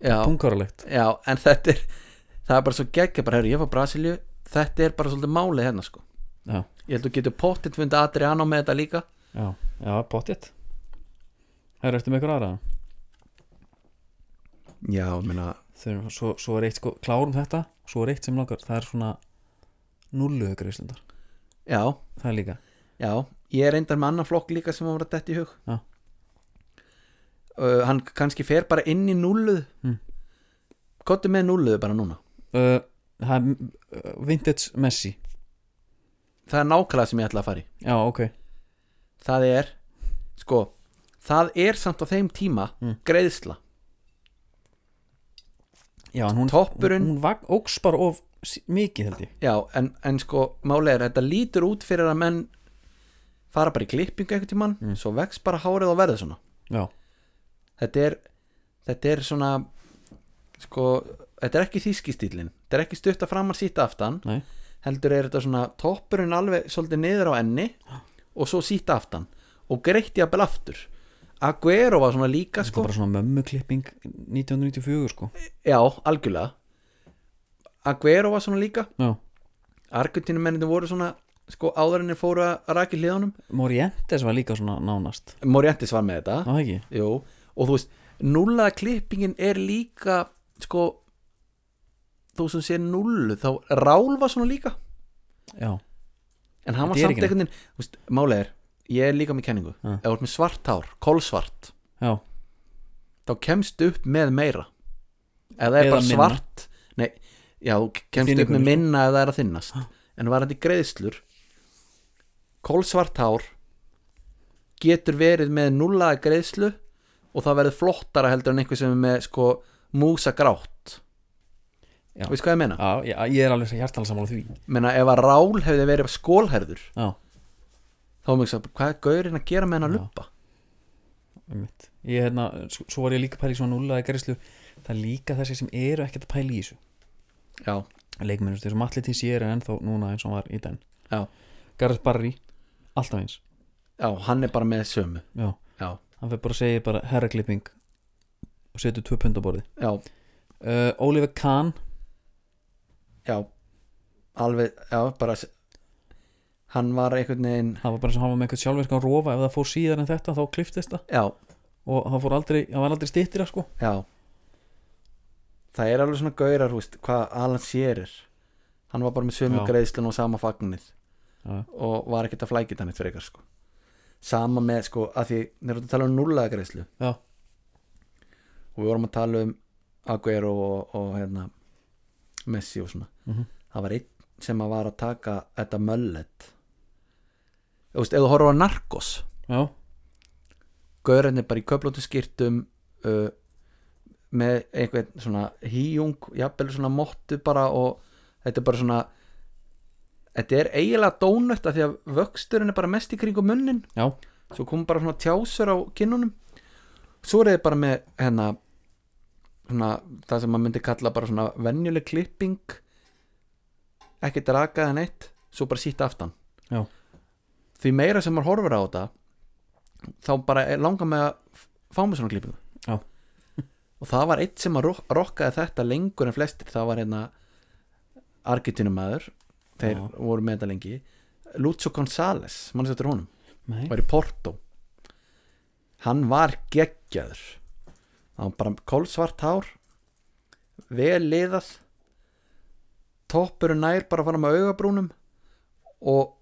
Speaker 3: já,
Speaker 1: pungaralegt
Speaker 3: já, en þetta er það er bara svo geggja, bara, herru, ég var Brasilíu þetta er bara svolítið málið hérna sko
Speaker 1: Já,
Speaker 3: ég held að þú getur pottitt fundið Adriano með þetta líka
Speaker 1: já, já, potjett Herru, ertu með ykkur aðra?
Speaker 3: já, minna
Speaker 1: Þegar, svo, svo er eitt sko, klárum þetta Svo er eitt sem langar, það er svona Nulluðu greislundar,
Speaker 3: já,
Speaker 1: það er líka
Speaker 3: já, ég er reyndar með annan flokk líka sem að vera dætt í hug
Speaker 1: Já.
Speaker 3: uh, hann kannski fer bara inn í núluð
Speaker 1: Mm.
Speaker 3: kottu með núluðu bara núna
Speaker 1: uh, Það er uh, vintage Messi
Speaker 3: það er nákvæmlega sem ég ætla að fara í
Speaker 1: Já, ok,
Speaker 3: það er, sko það er samt á þeim tíma
Speaker 1: Mm.
Speaker 3: greiðsla
Speaker 1: já, en hún,
Speaker 3: Toppurinn-
Speaker 1: hún, hún vag, óks bara of s- mikið held ég
Speaker 3: já, en, en sko málega er að þetta lítur út fyrir að menn fara bara í klippingu einhvern tímann
Speaker 1: Mm.
Speaker 3: svo vex bara hárið og verður svona
Speaker 1: Já,
Speaker 3: þetta er, þetta er svona sko, þetta er ekki þíski stílin þetta er ekki stutta framar síta aftan
Speaker 1: nei,
Speaker 3: heldur er þetta svona toppurinn alveg svolítið niður á enni og svo síta aftan og greitt jafnvel aftur Aguero var svona líka
Speaker 1: það
Speaker 3: sko
Speaker 1: er bara svona mömmuklipping 1994 sko
Speaker 3: já, algjörlega Aguero var svona líka
Speaker 1: Já,
Speaker 3: Argentínumenninni voru svona sko áðurinnir fóru að raki hliðunum
Speaker 1: Morientes var líka svona nánast
Speaker 3: Morientes var með þetta
Speaker 1: Já, það ekki?
Speaker 3: Jú, og þú veist, nullaða klippingin er líka sko þú sem sé nullu þá Rál var svona líka
Speaker 1: Já,
Speaker 3: en hann var
Speaker 1: Þetta er
Speaker 3: samt
Speaker 1: ekki
Speaker 3: einhvern veginn þú veist, málega er, ég er líka með kenningu
Speaker 1: Ja.
Speaker 3: ef þú ert með svart hár, kolsvart
Speaker 1: já,
Speaker 3: þá kemst upp með meira ef það er
Speaker 1: Eða
Speaker 3: bara
Speaker 1: minna.
Speaker 3: svart nei, já, þú kemst upp
Speaker 1: Þynningunni,
Speaker 3: með
Speaker 1: sko.
Speaker 3: minna ef það er að þinnast en var þetta greiðslur kolsvart hár getur verið með nullaða greiðslu og það verður flottara heldur en einhver sem er með sko músa grátt
Speaker 1: Já.
Speaker 3: veist hvað ég meina?
Speaker 1: já, já ég er alveg hjartalega sammála því
Speaker 3: meina ef að rál hefði verið skólherður
Speaker 1: Já,
Speaker 3: þá er mér ekki að hvað er gaurinn að gera með hennar
Speaker 1: Já.
Speaker 3: lupa?
Speaker 1: um mitt Ég hérna, svo, svo var ég líka að pæla í svona nullaði gærislu Það er líka þessi sem eru ekkert að pæla í þessu
Speaker 3: Já,
Speaker 1: Leikmennur, þessu matli til sér en ennþá núna eins og hann var í den
Speaker 3: Já.
Speaker 1: Gareth Barry, alltaf eins
Speaker 3: já, hann er bara með sömu
Speaker 1: Já,
Speaker 3: Já,
Speaker 1: hann fyrir bara að segja bara herraklipping og setur tvö pund á borði
Speaker 3: já,
Speaker 1: uh, Oliver Kahn
Speaker 3: já alveg, já, bara s- hann var einhvern veginn
Speaker 1: það var bara sem hann var með einhvern sjálfverkan rofa ef það fór síðar en þetta þá kliftist það
Speaker 3: já,
Speaker 1: og það, fór aldrei, það var aldrei stýttir sko.
Speaker 3: já það er alveg svona gaurar, þú veist, hvað Alan Shearer hann var bara með sömu
Speaker 1: Já.
Speaker 3: greiðslun og sama fagnið
Speaker 1: Já.
Speaker 3: og var ekkert að flækita hann eitt frekar sko. sama með, sko, að því þegar þú tala um nullaða greiðslu
Speaker 1: Já.
Speaker 3: og við vorum að tala um Aguero og, og hérna Messi og svona
Speaker 1: Mhm.
Speaker 3: það var einn sem að var að taka þetta möllet þú veist, ef þú horfir á Narcos
Speaker 1: já,
Speaker 3: gaurinn er bara í köflóttu skýrtum uh, með einhvern svona híjung jafnvel svona mottu bara og þetta er bara svona þetta er eiginlega dónött af því að vöxturinn er bara mest í kringum munnin
Speaker 1: já,
Speaker 3: svo kom bara svona tjásur á kinnunum svo er þið bara með hérna svona, það sem maður myndi kalla bara svona venjuleg klipping ekki draka en eitt svo bara sítt aftan
Speaker 1: Já.
Speaker 3: því meira sem maður horfir á þetta þá bara er- langar með að f- fá með svona klippingu
Speaker 1: Já.
Speaker 3: og það var eitt sem að ro- rokkaði þetta lengur en flestir það var hérna Argentinumæður þeir
Speaker 1: Já.
Speaker 3: voru með þetta lengi Lúcio González, mannstu þetta er honum
Speaker 1: nei
Speaker 3: var í Porto hann var geggjaður hann var bara kolsvart hár vel liðað toppurinn nær bara fara með augabrúnum og,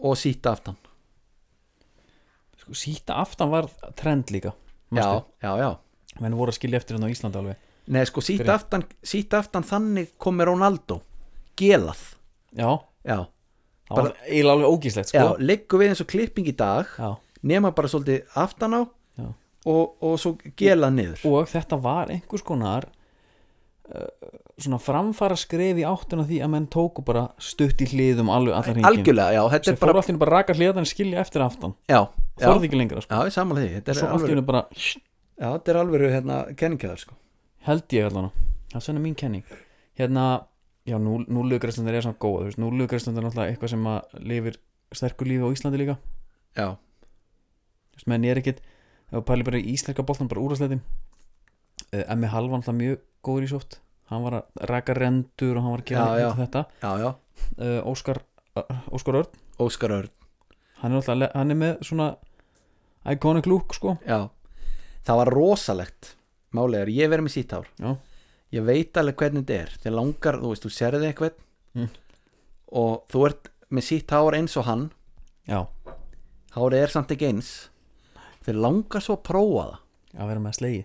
Speaker 3: og síta aftan
Speaker 1: sko, síta aftan var trend líka
Speaker 3: já, já, já
Speaker 1: menn voru að skilja eftir hann á Íslandi alveg
Speaker 3: Nei, sko, síta
Speaker 1: Fyrir-
Speaker 3: aftan, síta aftan þannig kom með Ronaldo gelað
Speaker 1: já,
Speaker 3: já,
Speaker 1: það var eiginlega alveg ógíslegt
Speaker 3: já
Speaker 1: sko.
Speaker 3: liggur við eins og klipping í dag
Speaker 1: já,
Speaker 3: nema bara svolítið aftan á
Speaker 1: já,
Speaker 3: og, og svo gela niður
Speaker 1: og þetta var einhvers konar uh, svona framfara skref í áttuna því að menn tóku bara stutt í hliðum alveg allar hringin
Speaker 3: algjörlega, já, þetta
Speaker 1: sem
Speaker 3: er bara
Speaker 1: fóru allir bara raka hliðan skilja eftir aftan
Speaker 3: já, já,
Speaker 1: þorði ekki lengra sko.
Speaker 3: já, ég samanlega því þetta
Speaker 1: svo
Speaker 3: er
Speaker 1: allt í
Speaker 3: alveg,
Speaker 1: henni bara
Speaker 3: já, þetta er alveg hérna, kenningaðar sko
Speaker 1: held ég allan á. það er svona mín kenning hérna, já, núlugrestendur er samt góð núlugrestendur er náttúrulega eitthvað sem að lifir sterkur lífi á Íslandi líka
Speaker 3: já,
Speaker 1: Þú veist, menn ég er ekkit ef þú pælir bara í íslenska boltan, bara úrasleitin uh, Emmi Hall var alltaf mjög góður í sótt hann var að raka rendur og hann var að gera
Speaker 3: Já, já.
Speaker 1: hitt og þetta
Speaker 3: já, já,
Speaker 1: uh, Óskar, uh, Óskar Örn
Speaker 3: Óskar Örn
Speaker 1: hann er, alltaf, hann er með svona iconic look sko
Speaker 3: já, það var rosalegt málegar, ég verið með sítt hár
Speaker 1: Já.
Speaker 3: ég veit alveg hvernig þetta er þegar langar, þú veist, þú serði eitthvað
Speaker 1: Mm.
Speaker 3: og þú ert með sítt hár eins og hann
Speaker 1: já,
Speaker 3: hárið er samt ekki eins þeir langar svo að prófa það
Speaker 1: að vera með slegi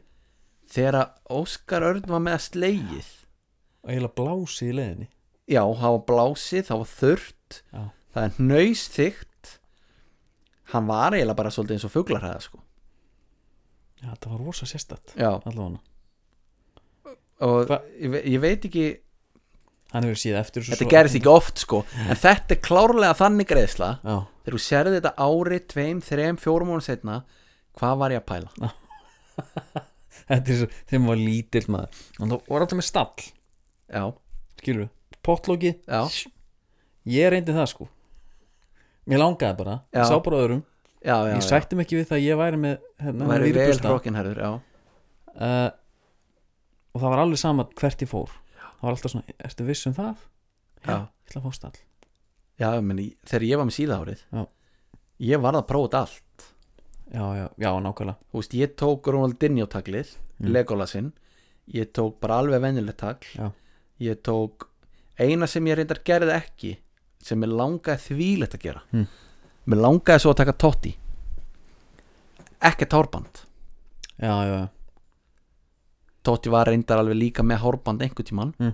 Speaker 3: þegar að Óskar Örn var með að slegið
Speaker 1: og eiginlega blási í leiðinni
Speaker 3: já, það var blásið, það var þurrt
Speaker 1: Já.
Speaker 3: það er nöysþygt hann var eiginlega bara svolítið eins og fuglarhæða sko.
Speaker 1: já, það var rosa sérstætt
Speaker 3: já,
Speaker 1: allavega
Speaker 3: og
Speaker 1: Hva-
Speaker 3: ég, ve- ég veit ekki
Speaker 1: hann hefur síða eftir þessu
Speaker 3: þetta
Speaker 1: svo-
Speaker 3: gerist ekki oft sko en þetta er klárlega þannig greiðsla
Speaker 1: já,
Speaker 3: þegar þú serði þetta ári, tveim, þreim, fjórum mánu setna hvað var ég að pæla?
Speaker 1: Ah. þetta er svo þegar maður var lítill maður hann þá var alltaf með stall
Speaker 3: já,
Speaker 1: skilur við, pottlóki
Speaker 3: Já.
Speaker 1: ég reyndi það sko mér langaði bara,
Speaker 3: Já.
Speaker 1: ég sá bara öðrum
Speaker 3: já, já,
Speaker 1: ég
Speaker 3: já.
Speaker 1: sætti mig ekki við það að ég væri með hérna,
Speaker 3: væri vel
Speaker 1: vírbusta.
Speaker 3: hrókinherður já,
Speaker 1: uh, og það var alveg sama hvert ég fór það var alltaf svona, ertu viss um það?
Speaker 3: já,
Speaker 1: ég ætla að fá stall
Speaker 3: já meni, þegar ég var með síðahárið
Speaker 1: Já.
Speaker 3: ég varð að prófa þetta allt
Speaker 1: já, já, já, nákvæmlega
Speaker 3: þú veist, ég tók Ronaldinho taglið
Speaker 1: Mm.
Speaker 3: Legolasinn, ég tók bara alveg venjulegt tagl
Speaker 1: Já.
Speaker 3: ég tók, eina sem ég reyndar gerði ekki sem ég langaði þvílegt að gera
Speaker 1: Mm.
Speaker 3: mér langaði svo að taka Totti ekki tárband
Speaker 1: já, já, já,
Speaker 3: Totti var reyndar alveg líka með hárband einhvern tímann
Speaker 1: Mm.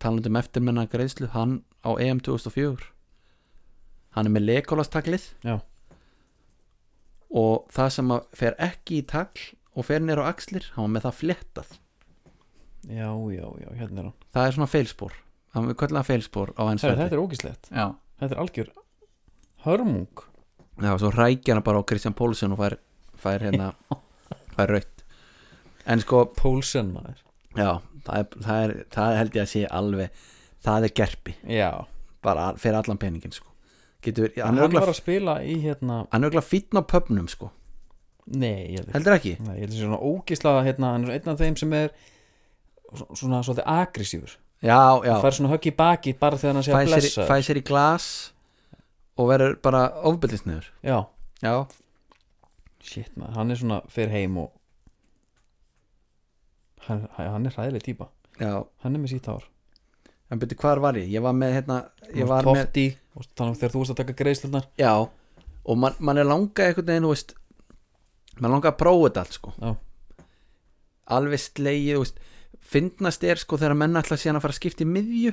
Speaker 3: talandi um eftirmenna greiðslu hann á EM 2004 hann er með leikólastaklið
Speaker 1: Já.
Speaker 3: og það sem að fer ekki í tagl og fer nýr á axlir hann var með það flettað
Speaker 1: já, já, já hérna er hann
Speaker 3: það er svona feilspor hann við kallum það feilspor á hans
Speaker 1: Herra, þetta er ógislegt,
Speaker 2: já,
Speaker 1: þetta er algjör hörmung
Speaker 3: Já, svo rækja hann bara á Kristján Pólsson og fær, fær hérna fær rautt en sko,
Speaker 1: Pólsen maður
Speaker 3: já, það, er, það, er, það held ég að sé alveg það er gerpi,
Speaker 1: já,
Speaker 3: bara al- fyrir allan peningin sko. getur,
Speaker 1: hann,
Speaker 3: hann er
Speaker 1: var
Speaker 3: örugglega-
Speaker 1: að spila í hérna
Speaker 3: hann er örugglega fínn á pöpnum sko.
Speaker 1: nei, ég held ekki
Speaker 3: heldur ekki?
Speaker 1: Nei, ég heldur svona ógisla hérna, hann er einn af þeim sem er svo- svona svolítið agressífur
Speaker 3: Já, já,
Speaker 1: fær svona högg í baki bara þegar hann sé
Speaker 3: fæ
Speaker 1: að
Speaker 3: sér,
Speaker 1: blessa
Speaker 3: fæ sér í glas og verður bara ofbyrðisniður
Speaker 1: já,
Speaker 3: Já,
Speaker 1: shit maður, hann er svona fyrir heim og hann, hann er hræðileg típa
Speaker 3: já,
Speaker 1: hann er með sítt hár
Speaker 3: en byrju hvar var ég? Ég var með hérna, ég var með
Speaker 1: tótt í og þannig þegar þú veist að taka greiðslunar
Speaker 3: Já, og man, man er langað einhvern veginn, þú veist mann langað að prófa þetta allt sko
Speaker 1: Já.
Speaker 3: alveg slegið, þú veist fyndnast er sko þegar menn ætla síðan að fara að skipta í miðju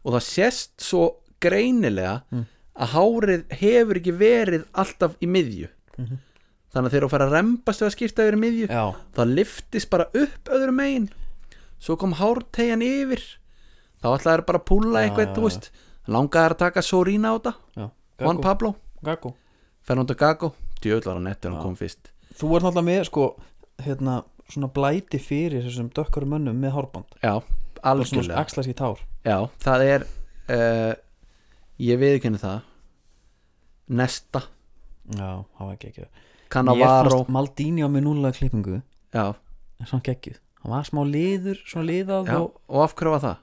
Speaker 3: og það sést svo greinilega
Speaker 1: Mm.
Speaker 3: að hárið hefur ekki verið alltaf í miðju
Speaker 1: Mhm.
Speaker 3: þannig að þegar þú fara að rembast við að skipta yfir í miðju
Speaker 1: já,
Speaker 3: það liftist bara upp öðru megin svo kom hártegjan yfir þá ætlaði þær bara að púla
Speaker 1: Já,
Speaker 3: eitthvað
Speaker 1: já,
Speaker 3: þú
Speaker 1: já.
Speaker 3: veist, langaði þær að taka Sorina á þetta
Speaker 1: já
Speaker 3: Juan
Speaker 1: Gago,
Speaker 3: Pablo,
Speaker 1: Gago.
Speaker 3: Fernando Gago djöðl var hann eftir hann
Speaker 1: Já.
Speaker 3: kom fyrst
Speaker 1: þú er náttúrulega með sko hérna, svona blæti fyrir þessum dökkar mönnum með hárband
Speaker 3: já,
Speaker 1: og svona
Speaker 3: algjörlega
Speaker 1: axla sítt hár
Speaker 3: já, það er uh, ég viðkynni það Nesta,
Speaker 1: já, hann var geggjöð Mér
Speaker 3: Cannavaro
Speaker 1: fannst Maldini á með núlega klippingu
Speaker 3: já,
Speaker 1: en samt geggjuð hann var smá liður, svona liðað
Speaker 3: já,
Speaker 1: og
Speaker 3: og af hverju var það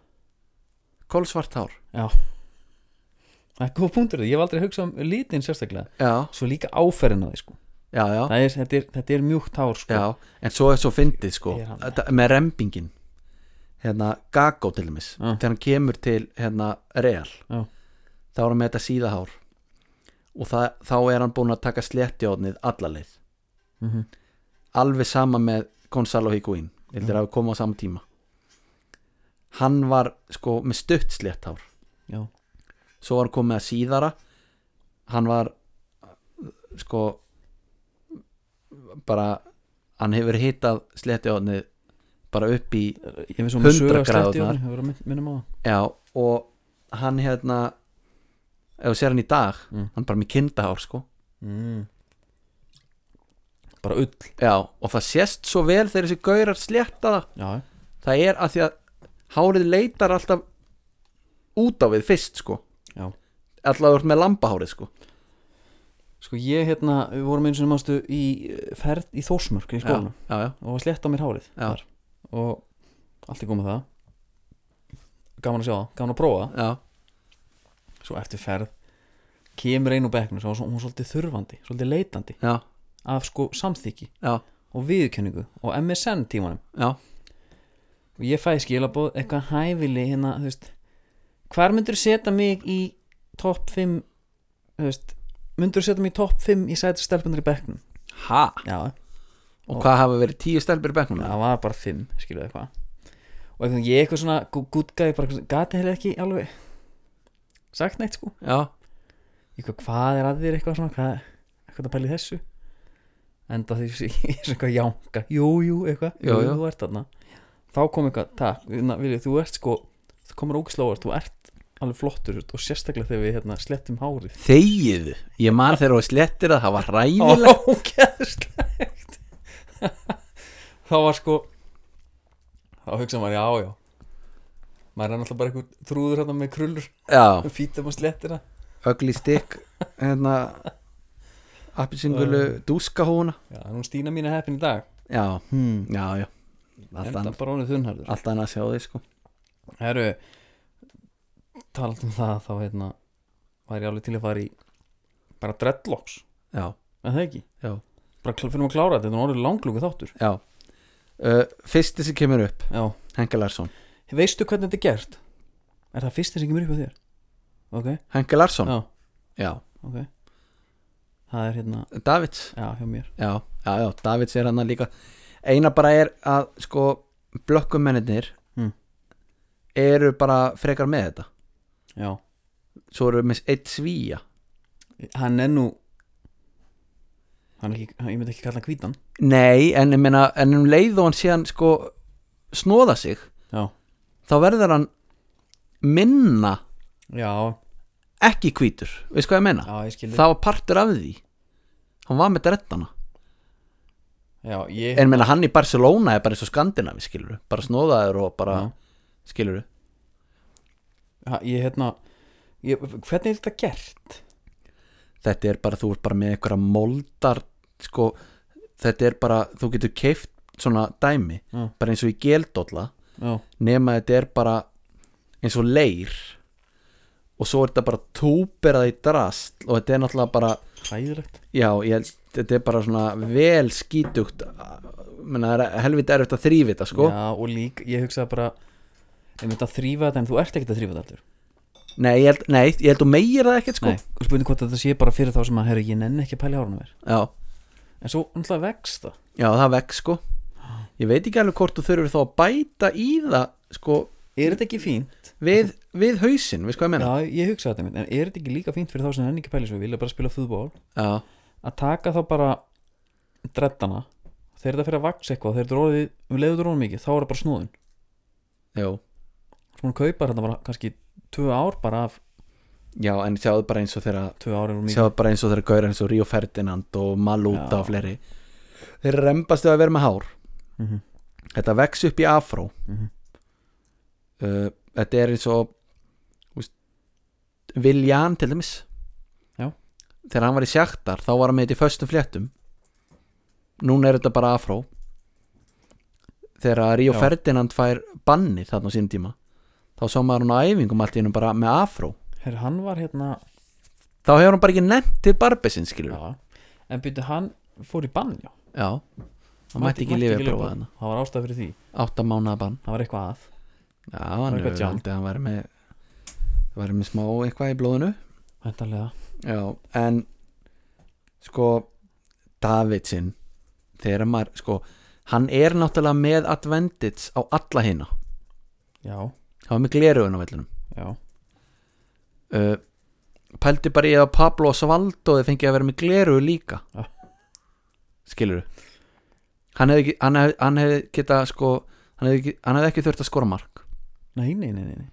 Speaker 3: Kolsvart hár
Speaker 1: það er góð punktur, ég hef aldrei hugsað um litin sérstaklega
Speaker 3: já,
Speaker 1: svo líka áferðin á því sko
Speaker 3: já, já,
Speaker 1: Það er, þetta, er, þetta er mjúkt hár sko
Speaker 3: já en svo er svo fyndið sko
Speaker 1: Er hann-
Speaker 3: þetta- með rempingin hérna Gago til dæmis
Speaker 1: Já.
Speaker 3: þegar hann kemur til hérna Real
Speaker 1: Já.
Speaker 3: þá er hann með þetta síðahár og það, þá er hann búin að taka sléttjóðnið allaleið
Speaker 1: Mhm.
Speaker 3: alveg sama með Gonzalo Higuín ég heldur að við komum á sama tíma hann var sko með stutt slétt hár
Speaker 1: Já.
Speaker 3: svo var hann komið að síðara hann var sko bara hann hefur hitað sléttjóðni bara upp í
Speaker 1: Ég finnst svona
Speaker 3: 100
Speaker 1: sögur að
Speaker 3: gráðurnar.
Speaker 1: sleppt í honum, hefur verið að minnum á það
Speaker 3: já, og hann hérna ef þú sér hann í dag
Speaker 1: Mm.
Speaker 3: hann er bara með kindahár sko
Speaker 1: mm. Bara ull
Speaker 3: já, og það sést svo vel þegar þessi gaurar slétta það
Speaker 1: Já,
Speaker 3: það er að því að hárið leitar alltaf út á við fyrst sko
Speaker 1: Já.
Speaker 3: alltaf þú ert með lambahárið sko
Speaker 1: sko ég hérna, við vorum eins og mástu í eh, ferð í Þórsmörk í skólanum
Speaker 3: já, já,
Speaker 1: og var slett á mér hárið
Speaker 3: Já.
Speaker 1: þar. og allt er komið það gaman að sjá það, gaman að prófa það.
Speaker 3: já,
Speaker 1: svo eftir ferð kemur einu bekknum, svo var svo- hún var svolítið þurfandi svolítið leitandi
Speaker 3: já,
Speaker 1: af sko samþyggi
Speaker 3: já,
Speaker 1: og viðurkenningu og MSN tímanum
Speaker 3: já,
Speaker 1: og ég fæði skilabóð eitthvað hæfili hérna, þú veist hvar myndur setja mig í topp 5 þú veist, myndur setja mig í topp 5 í sæti stelpunar í bekknum
Speaker 3: ha
Speaker 1: já,
Speaker 3: og hvað hafa verið tíu stelpir í bekknum
Speaker 1: það var bara 5, skiluðu eitthvað og eitthvað, ég eitthvað svona gútgæði bara eitthvað svona, gati hefði ekki alveg sagt neitt sko
Speaker 3: já,
Speaker 1: eitthvað, hvað er að þér eitthvað svona hvað, eitthvað að pæli þessu enda því sem ég er svona eitthvað jánka jú, jú, eitthvað,
Speaker 3: Já, já.
Speaker 1: þú ert þarna þá kom eitthvað, takk, na, vilja, þú ert sko þú komur ógislóðar, þú ert alveg flottur og sérstaklega þegar við hérna, slettum hárið
Speaker 3: þegið ég man þegar þú slettir að það var ræðilega
Speaker 1: ógeðslegt þá var sko þá hugsa maður, já, já maður er náttúrulega bara einhver þrúður hérna með krullur
Speaker 3: já,
Speaker 1: fítum og slettina
Speaker 3: ögli stikk hérna appisingulu dúskahúna
Speaker 1: já, en hún Stína mín er heppin í dag
Speaker 3: já,
Speaker 1: hmm.
Speaker 3: já, já allt
Speaker 1: enda
Speaker 3: annað
Speaker 1: bara honum þunnharður
Speaker 3: allt annað að sjá því sko
Speaker 1: herru, talat um það þá hérna var ég alveg til að fara í bara dreadlocks,
Speaker 3: já,
Speaker 1: en það ekki
Speaker 3: já,
Speaker 1: bara kl- fyrir maður að klára þetta, þetta er orðið langlúku þáttur
Speaker 3: já uh, fyrsti sem kemur upp
Speaker 1: já,
Speaker 3: Henke Larsson
Speaker 1: veistu hvernig þetta er gert? er það fyrst sem kemur upp á þér? ok,
Speaker 3: Henke Larsson,
Speaker 1: já
Speaker 3: já,
Speaker 1: ok það er hérna,
Speaker 3: Davids
Speaker 1: já hjá mér
Speaker 3: já, já, já, Davids er hann líka eina bara er að sko blökkumennir
Speaker 1: Mm.
Speaker 3: eru bara frekar með þetta
Speaker 1: já.
Speaker 3: svo eru við með eitt svíja
Speaker 1: hann er nú hann er ekki, hann, ég myndi ekki kalla hann hvítan
Speaker 3: nei, en ég meina, en um leið og hann síðan sko snóða sig
Speaker 1: já,
Speaker 3: þá verður hann minna
Speaker 1: já,
Speaker 3: ekki hvítur, veist hvað ég meina
Speaker 1: já ég skildi
Speaker 3: það var partur af því hann var með drettana
Speaker 1: já, ég,
Speaker 3: en meina hann í Barcelona er bara eins og Skandinavi skilur bara snóðaður og bara
Speaker 1: Já.
Speaker 3: skilur
Speaker 1: ha, ég hérna ég, hvernig er þetta gert?
Speaker 3: þetta er bara, þú ert bara með einhverja moldar sko, þetta er bara þú getur keift svona dæmi
Speaker 1: Já.
Speaker 3: bara eins og í geldólla
Speaker 1: já,
Speaker 3: nema þetta er bara eins og leir og svo er þetta bara túberað í drast og þetta er náttúrulega bara
Speaker 1: hæðilegt
Speaker 3: já, ég, held- þetta er bara svona vel skítugt menna, það er helviti erfitt að þrýfi þetta sko
Speaker 1: já, og líka, ég hugsaði bara ég myndi að þrýfa þetta en þú ert ekkert að þrýfa þetta allir
Speaker 3: nei, ég held, nei, ég held þú meir það ekkert sko
Speaker 1: nei, og spurning hvort þetta sé bara fyrir þá sem að herra, ég nenni ekki að pæla hárunum mér
Speaker 3: já,
Speaker 1: en svo umhlað vex það
Speaker 3: já, það vekk sko ég veit ekki alveg hvort þú þurfur þá að bæta í það sko
Speaker 1: er þetta ekki fínt?
Speaker 3: við, við hausinn, veist hvað ég meina
Speaker 1: já, ég hugsaði þetta mynd en er þetta ekki líka fínt fyrir þá sem nenni ekki að pæla svo vilja bara spila fútból
Speaker 3: já,
Speaker 1: að taka þá bara dreddana þegar það fyrir að vaks eitthvað þegar þetta er orðið, við leiðum þetta orðið mikið þá er það bara snúðun
Speaker 3: já,
Speaker 1: svo hún kaupar þetta bara kannski tvö ár bara af
Speaker 3: já en sjáðu bara eins og þeirra
Speaker 1: tvö ár er hún mikið
Speaker 3: sjáðu bara eins og þeirra gauður eins og Ríó Ferdinand og Malúta
Speaker 1: Já.
Speaker 3: og fleiri þeir rempastu að vera með hár
Speaker 1: Mhm.
Speaker 3: þetta vex upp í afró
Speaker 1: Mhm.
Speaker 3: uh, þetta er eins og þú veist, Viljan til dæmis
Speaker 1: Já.
Speaker 3: þegar hann var í sjaktar þá var hann með þetta í föstum fléttum núna er þetta bara afró þegar Ríó
Speaker 1: Já.
Speaker 3: Ferdinand fær banni þarna á sínum tíma þá sá maður hann á æfingum allt í hennu bara með afró
Speaker 1: Her, hann var hérna
Speaker 3: þá hefur hann bara ekki nefnt til barbesinn skilur
Speaker 1: já, en byrju hann fór í bann já
Speaker 3: já, hann mætti ekki lífið að prófa þarna
Speaker 1: það var ástæð fyrir því
Speaker 3: átta mánuða bann
Speaker 1: það var eitthvað að
Speaker 3: já, hann
Speaker 1: eitthvað
Speaker 3: hefur
Speaker 1: jam.
Speaker 3: haldið að hann væri með væri með smá eitthvað í blóðinu
Speaker 1: Væntanlega.
Speaker 3: já, en sko Davidsinn þegar maður, sko hann er náttúrulega með advantage á alla hina
Speaker 1: já,
Speaker 3: hann var með glerugun á vellinum
Speaker 1: já,
Speaker 3: uh, pældi bara í að Ah. Pablo Svaldo þið fengið að vera með glerugu líka
Speaker 1: Já.
Speaker 3: skilur hann hefði, ekki- hann hefði, hann hefði geta sko hann hefði, ekki- hann hefði ekki þurft að skora mark
Speaker 1: nei, nei, nei, nei.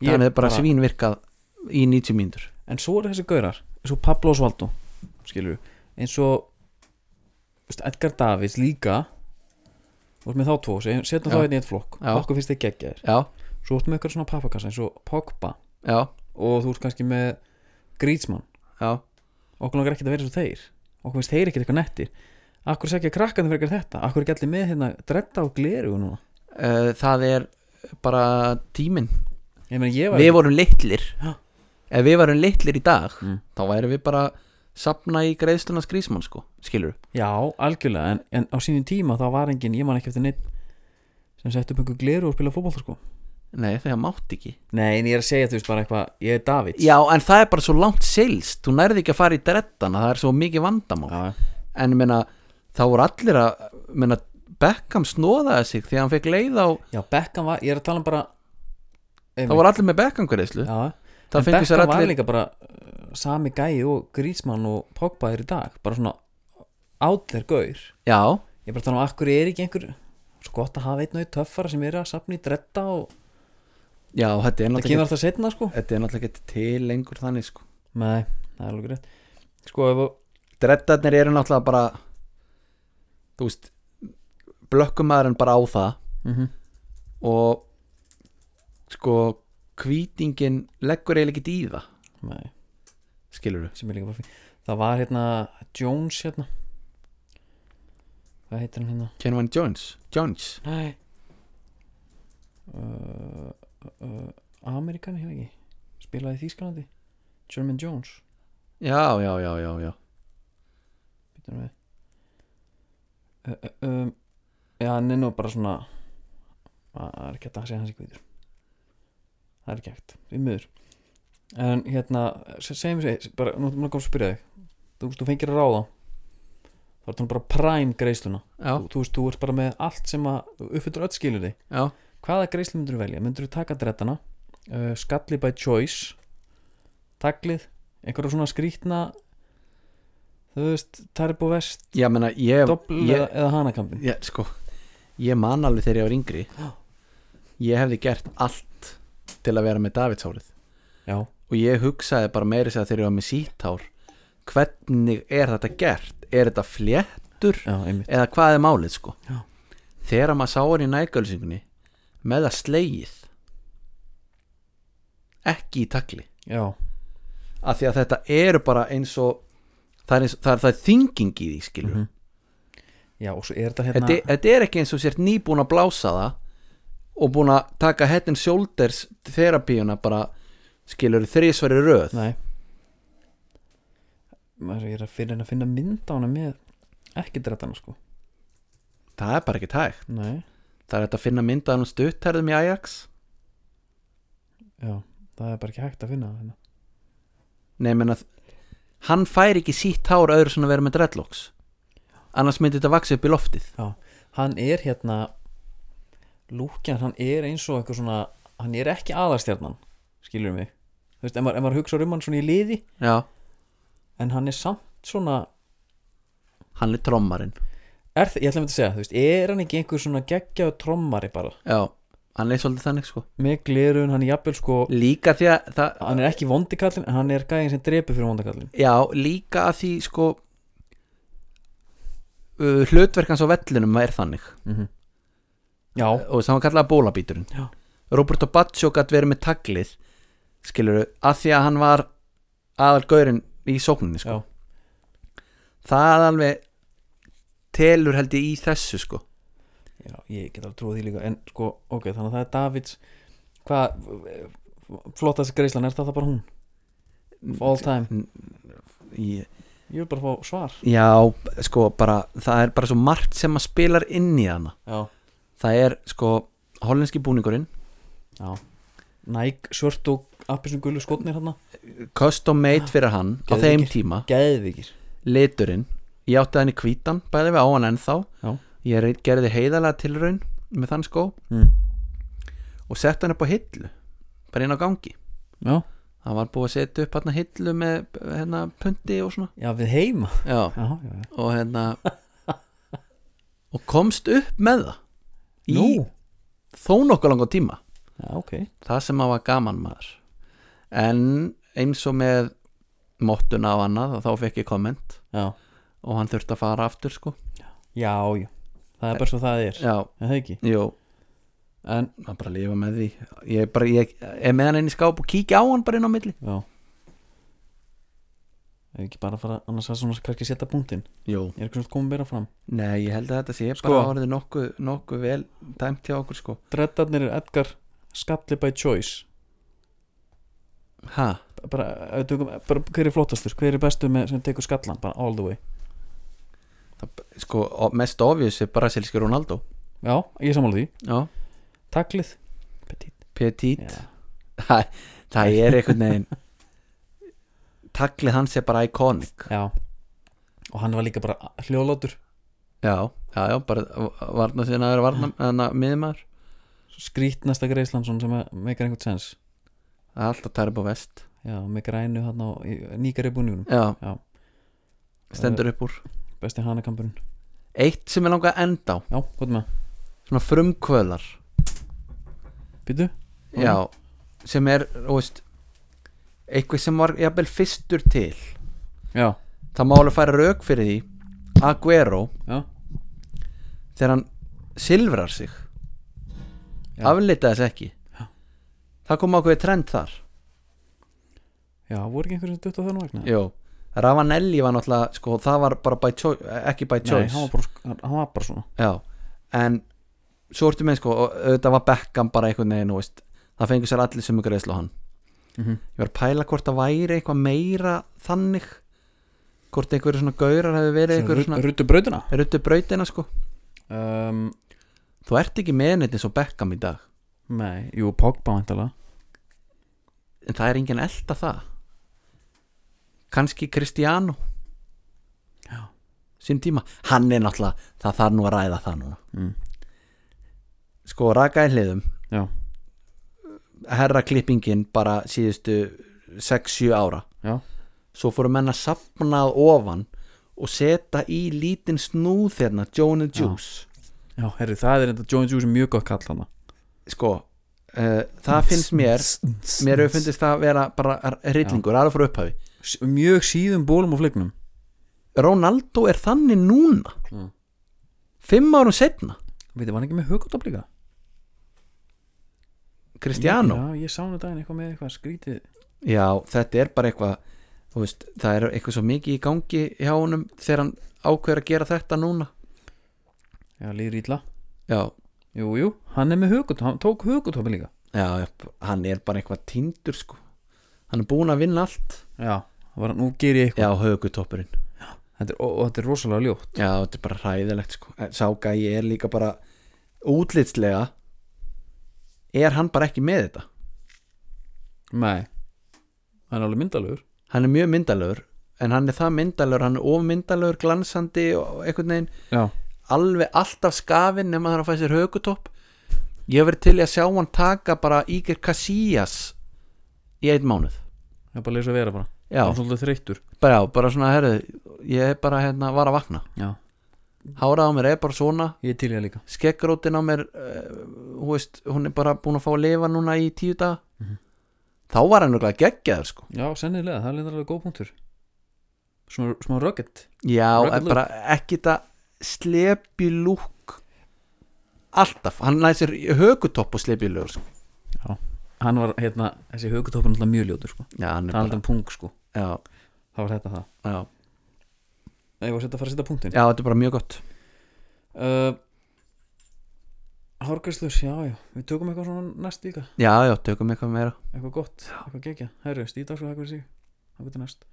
Speaker 1: Ég
Speaker 3: hann hefði bara svínvirkað í 90 mínútur
Speaker 1: en svo eru þessi gaurar eins og Pablo Osvaldo skilur eins og veist, Edgar Davids líka þú veist með þá tvo se- setjum
Speaker 3: Já.
Speaker 1: þá einn í eitt flokk
Speaker 3: Já.
Speaker 1: okkur finnst þið geggjaðir
Speaker 3: já,
Speaker 1: svo ertu með eitthvað svona pappakassa eins og Pogba
Speaker 3: já,
Speaker 1: og þú ert kannski með Griezmann
Speaker 3: já
Speaker 1: okkur langar ekkert að vera svo þeir okkur finnst þeir ekkert eitthvað nettir akkur segja krakkandi fyrir ekkert þetta akkur er ekki allir með hérna dredda á gleru núna
Speaker 3: uh, það er bara tíminn
Speaker 1: ég meina ég var
Speaker 3: við vorum litlir
Speaker 1: Já.
Speaker 3: ef við vorum litlir í dag
Speaker 1: Mm.
Speaker 3: þá væri við bara sapna í greiðsluna skrýsmann sko, skilur
Speaker 1: já algjörlega en, en á sínum tíma þá var engin ég man ekki eftir neitt sem sett upp einhver gleru og spila fótbolta sko
Speaker 3: nei þegar mátt ekki
Speaker 1: Nei, en ég er að segja þú veist bara eitthvað Ég er Davids
Speaker 3: já en það er bara svo langt seilst þú nærði ekki að fara í drettana það er svo mikið vandamál
Speaker 1: já,
Speaker 3: en ég meina þá voru allir að ég meina, Beckham snóðaði sig því að hann fekk leið á
Speaker 1: já Beckham var, ég er að tala um bara
Speaker 3: þá voru allir með Beckham greiðslu
Speaker 1: já,
Speaker 3: það
Speaker 1: En
Speaker 3: fengur
Speaker 1: Beckham
Speaker 3: sér
Speaker 1: var
Speaker 3: allir
Speaker 1: líka bara uh, Sami gæi og Grísmann og Pogba er í dag Bara svona out there gaur Ég
Speaker 3: já,
Speaker 1: er bara að tala um akkur er ekki einhver Svo gott að hafa einn og einn töffara sem er að safna í dretta og
Speaker 3: já, þetta er
Speaker 1: það
Speaker 3: náttúrulega
Speaker 1: kemur alltaf setna sko
Speaker 3: ekki- þetta er náttúrulega ekki til lengur þannig sko
Speaker 1: Nei, það er alveg rétt Sko, ef þú-
Speaker 3: drettarnir eru náttúrulega bara þú veist blökkumæðurinn bara á það
Speaker 1: Mhm.
Speaker 3: og sko kvítingin leggur eiginlega ekki í það
Speaker 1: Nei,
Speaker 3: skilur
Speaker 1: sem er líka bara fín Það var hérna Jones hérna Hvað heitir hann hérna?
Speaker 3: Kenvan Jones Jones
Speaker 1: Nei uh, uh, Amerikan hefur ekki Spilaði í Þýskalandi German Jones
Speaker 3: já, já, já, já, já
Speaker 1: býtum við. uh, uh, um, Já, hann er nú bara svona Það er ekki hægt að segja hans í guður Það er ekki hægt, við miður En hérna, se- segjum við bara, Nú erum við að koma að spyrja þig Þú veist, þú fengir að ráða Þá er þannig bara prime greisluna
Speaker 3: já,
Speaker 1: þú, þú veist, þú ert bara með allt sem að uppfyllir öll skilur þig
Speaker 3: já,
Speaker 1: hvaða greiðslu myndur þú velja? myndur þú taka drettana uh, skalli by choice taglið, einhverja svona skrýtna þú veist Tarbo Vest,
Speaker 3: já, menna ég,
Speaker 1: doppel
Speaker 3: ég,
Speaker 1: eða, eða hanakampin
Speaker 3: ég sko, ég man alveg þegar ég var yngri ég hefði gert allt til að vera með Davidshárið
Speaker 1: já,
Speaker 3: og ég hugsaði bara meiri sér þegar ég var með síthár hvernig er þetta gert er þetta fléttur
Speaker 1: já, einmitt
Speaker 3: eða hvað er málið sko
Speaker 1: Já.
Speaker 3: þegar maður sá hann í nægölsingunni með það slegið ekki í takli
Speaker 1: já,
Speaker 3: af því að þetta eru bara eins og það er, eins, það er, það er þinging í því skilur
Speaker 1: Mhm. já, og svo er þetta hérna
Speaker 3: þetta, þetta er ekki eins og sért nýbúin að blása það og búin að taka head and shoulders þerapíuna bara skilur þrísveri röð
Speaker 1: nei maður ég er að fyrir henni að finna mynd á hana með ekki drettana sko
Speaker 3: það er bara ekki tægt
Speaker 1: nei,
Speaker 3: Það er hægt að finna myndaðan og stutterðum í Ajax
Speaker 1: já, það er bara ekki hægt að finna það hérna.
Speaker 3: Nei, menn að hann fær ekki sítt hár öðru svona verið með dreadlocks annars myndi þetta vaksa upp í loftið
Speaker 1: hann er hérna Lúkjan, hann er eins og eitthvað svona hann er ekki aðarstjarnan skilur mig, þú veist, ef maður, ef maður hugsa um hann svona í liði,
Speaker 3: Já,
Speaker 1: en hann er samt svona,
Speaker 3: hann er trommarinn
Speaker 1: er það, ég ætla að mynda að segja þú veist, er hann ekki einhver svona geggjaðu trommari bara,
Speaker 3: Já, hann er svolítið þannig sko
Speaker 1: með glirun, hann er jafnvel sko,
Speaker 3: Líka því að það,
Speaker 1: hann er ekki vondikallin en hann er gæðin sem drepi fyrir vondikallin
Speaker 3: Já, líka að því sko uh, hlutverkans á vellinum er þannig
Speaker 1: Mhm. já,
Speaker 3: og það var kallað bólabíturinn
Speaker 1: Já.
Speaker 3: Roberto Baccio gætt verið með taglið skilur að því að hann var aðalgaurinn í sókninni sko.
Speaker 1: Já.
Speaker 3: það alveg telur held ég í þessu sko.
Speaker 1: já, ég get alveg trúið því líka en sko, ok, þannig að það er Davids hvað, flottast greislan er það það bara hún, of all time
Speaker 3: Ég-
Speaker 1: ég vil bara fá svar,
Speaker 3: já, sko bara, það er bara svo margt sem að spilar inn í hana
Speaker 1: já
Speaker 3: það er sko hollenski búningurinn
Speaker 1: Já Nike, svört og appisum gullu skotnir hann
Speaker 3: custom made
Speaker 1: Ah,
Speaker 3: fyrir hann á
Speaker 1: Geðveikir.
Speaker 3: þeim tíma
Speaker 1: Geðvíkir
Speaker 3: liturinn ég átti hann í hvítan, bæði við á hann ennþá
Speaker 1: Já.
Speaker 3: ég rey- gerði heiðalega tilraun með þann skó
Speaker 1: mm.
Speaker 3: og sett hann upp á hillu bara inn á gangi
Speaker 1: Já
Speaker 3: hann var búið að setja upp hann hillu með hérna pundi og svona
Speaker 1: Já, við heima Já,
Speaker 3: já,
Speaker 1: já, já
Speaker 3: og hérna og komst upp með það í
Speaker 1: Nú.
Speaker 3: þó nokkuð langan tíma
Speaker 1: Já, ok
Speaker 3: það sem að var gaman maður en eins og með mottuna af annað þá fekk ég komment
Speaker 1: Já,
Speaker 3: og hann þurfti að fara aftur sko
Speaker 1: já, já Það er bara svo það er,
Speaker 3: já,
Speaker 1: er það ekki
Speaker 3: jú,
Speaker 1: En,
Speaker 3: maður bara lifa með því ég, bara, ég er með hann inn í skáp og kíkja á hann bara inn á milli
Speaker 1: já Ef ekki bara að fara, annars að svona hverki setja punktinn
Speaker 3: jú,
Speaker 1: Er eitthvað svona komið meira fram
Speaker 3: nei, ég held að þetta sé
Speaker 1: Sko.
Speaker 3: bara orðið nokkuð nokku vel dæmt hjá okkur sko
Speaker 1: Dreddarnir er Edgar Skalli by choice
Speaker 3: ha,
Speaker 1: bara, ef við tökum, bara hver er flottastur, hver er bestu með, sem tekur skallan, bara all the way
Speaker 3: sko, og mest ofjus er brasilski Ronaldo
Speaker 1: Já, ég er sammála því,
Speaker 3: já,
Speaker 1: taklið Petit
Speaker 3: petit
Speaker 1: Já.
Speaker 3: það, það er einhvern veginn taklið hans er bara iconic
Speaker 1: Já, og hann var líka bara hljóðlátur
Speaker 3: já, já, já, bara varna sinna aðra varna, þannig að miðmaður
Speaker 1: skrítnasta greislan svona sem að meikar einhvern sens
Speaker 3: það er alltaf tæri búið vest
Speaker 1: Já, með grænu hann á nýgari búningunum
Speaker 3: já,
Speaker 1: Já.
Speaker 3: stendur upp úr
Speaker 1: Besti hanakamburinn
Speaker 3: eitt sem er langað enda á,
Speaker 1: Já, hvað er með?
Speaker 3: svona frumkvölar
Speaker 1: Býtu?
Speaker 3: já, sem er, þú veist eitthvað sem var jafnvel fyrstur til
Speaker 1: Já,
Speaker 3: það má alveg færa rauk fyrir því Aguero
Speaker 1: já,
Speaker 3: þegar hann silfrar sig
Speaker 1: Já.
Speaker 3: aflita þess ekki
Speaker 1: Já.
Speaker 3: það kom ákveði trend þar
Speaker 1: já, voru ekki einhverjum sem dutt á þann vagnar?
Speaker 3: Jú. Ravanelli var náttúrulega sko, það var bara by choice, ekki by
Speaker 1: Nei,
Speaker 3: choice
Speaker 1: hann var, bara, hann var bara svona
Speaker 3: Já, en svo ertu með sko, og auðvitað var Beckham bara einhvern veginn, þú veist, það fengur sér allir sem ykkur eðslu hann
Speaker 1: Mhm.
Speaker 3: Ég var að pæla hvort það væri eitthvað meira þannig hvort einhverju svona gaurar hefur verið einhverju svona
Speaker 1: Ruttu brautina
Speaker 3: ruttu brautina sko
Speaker 1: um,
Speaker 3: Þú ert ekki með neitt eins og Beckham í dag
Speaker 1: Nei, jú, Pogba vantalega
Speaker 3: en það er enginn að elda það Kanski Cristiano
Speaker 1: Já.
Speaker 3: Sín tíma, hann er náttúrulega það þarf nú að ræða það núna
Speaker 1: Mm.
Speaker 3: Sko, raka í hliðum
Speaker 1: Já,
Speaker 3: herraklippingin bara síðustu 6-7 ára
Speaker 1: já,
Speaker 3: svo fóru menn að sapna að ofan og setja í lítinn snúð þérna, Joan and
Speaker 1: Já.
Speaker 3: Juice
Speaker 1: já, herri, það er enda Jones Juice er mjög gott kall hann
Speaker 3: sko, uh, það finnst mér mér hefur fundist það að vera bara rillingur, aðra fór upphafi
Speaker 1: S- Mjög síðum bólum og fleiknum
Speaker 3: Ronaldo er þannig núna
Speaker 1: Mm.
Speaker 3: fimm árum setna
Speaker 1: Veitir, var hann ekki með hugkóttab líka?
Speaker 3: Cristiano
Speaker 1: Já, ég sá hann í daginn eitthvað með eitthvað skrítið
Speaker 3: Já, þetta er bara eitthvað þú veist, það er eitthvað svo mikið í gangi hjá honum þegar hann ákveður að gera þetta núna
Speaker 1: Já, líður ítla
Speaker 3: Já,
Speaker 1: Jú, jú, hann er með hugkóttab, hann tók hugkóttab líka
Speaker 3: Já, já, hann er bara eitthvað tindur sko Hann er búin að vinna allt
Speaker 1: Já, það var, nú ger ég eitthvað
Speaker 3: Já, högutoppurinn
Speaker 1: þetta er, og, og þetta er rosalega ljótt
Speaker 3: Já, þetta er bara hræðilegt sko En Sá gæi er líka bara útlitslega Er hann bara ekki með þetta
Speaker 1: Nei Það er alveg myndalögur
Speaker 3: Hann er mjög myndalögur En hann er það myndalögur, hann er ofmyndalögur, glansandi og einhvern veginn
Speaker 1: Já
Speaker 3: Alveg alltaf skafinn nema það er að fæða sér högutopp Ég hef verið til í að sjá hann taka bara Íger Casillas í einn mánuð
Speaker 1: Það er bara að leysa að vera bara
Speaker 3: Já,
Speaker 1: Það er svolítið þreyttur
Speaker 3: bara, já, bara svona, herðu, ég er bara hérna, var að vakna
Speaker 1: Já
Speaker 3: hárað á mér er bara svona
Speaker 1: Ég er til í það líka
Speaker 3: skeggrótin á mér uh, hú veist, hún er bara búin að fá að lifa núna í tíu dag þá var hann nokklað geggjaður sko
Speaker 1: Já, sennilega, það er lindar alveg góð punktur Smá, smá rugged
Speaker 3: já,
Speaker 1: Rugged
Speaker 3: en bara ekki þetta slepi lúk alltaf, hann næði sér högutopp og slepi lúk sko.
Speaker 1: Hann var, hérna, þessi hugutopur er náttúrulega mjög ljótur sko
Speaker 3: já,
Speaker 1: Það
Speaker 3: hann er
Speaker 1: er
Speaker 3: bara,
Speaker 1: alltaf punk sko
Speaker 3: já,
Speaker 1: Það var þetta það
Speaker 3: já,
Speaker 1: Nei, ég var að setja að fara að setja punktin
Speaker 3: já, þetta er bara mjög gott
Speaker 1: uh, Hárgæslur, já, já Við tökum eitthvað svona næst líka
Speaker 3: já, já, tökum eitthvað meira
Speaker 1: Eitthvað gott, eitthvað gegja Herru, stíð dagskrá, takk fyrir sig Takk fyrir næst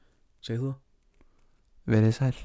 Speaker 1: Segðu þú það
Speaker 3: verið sæl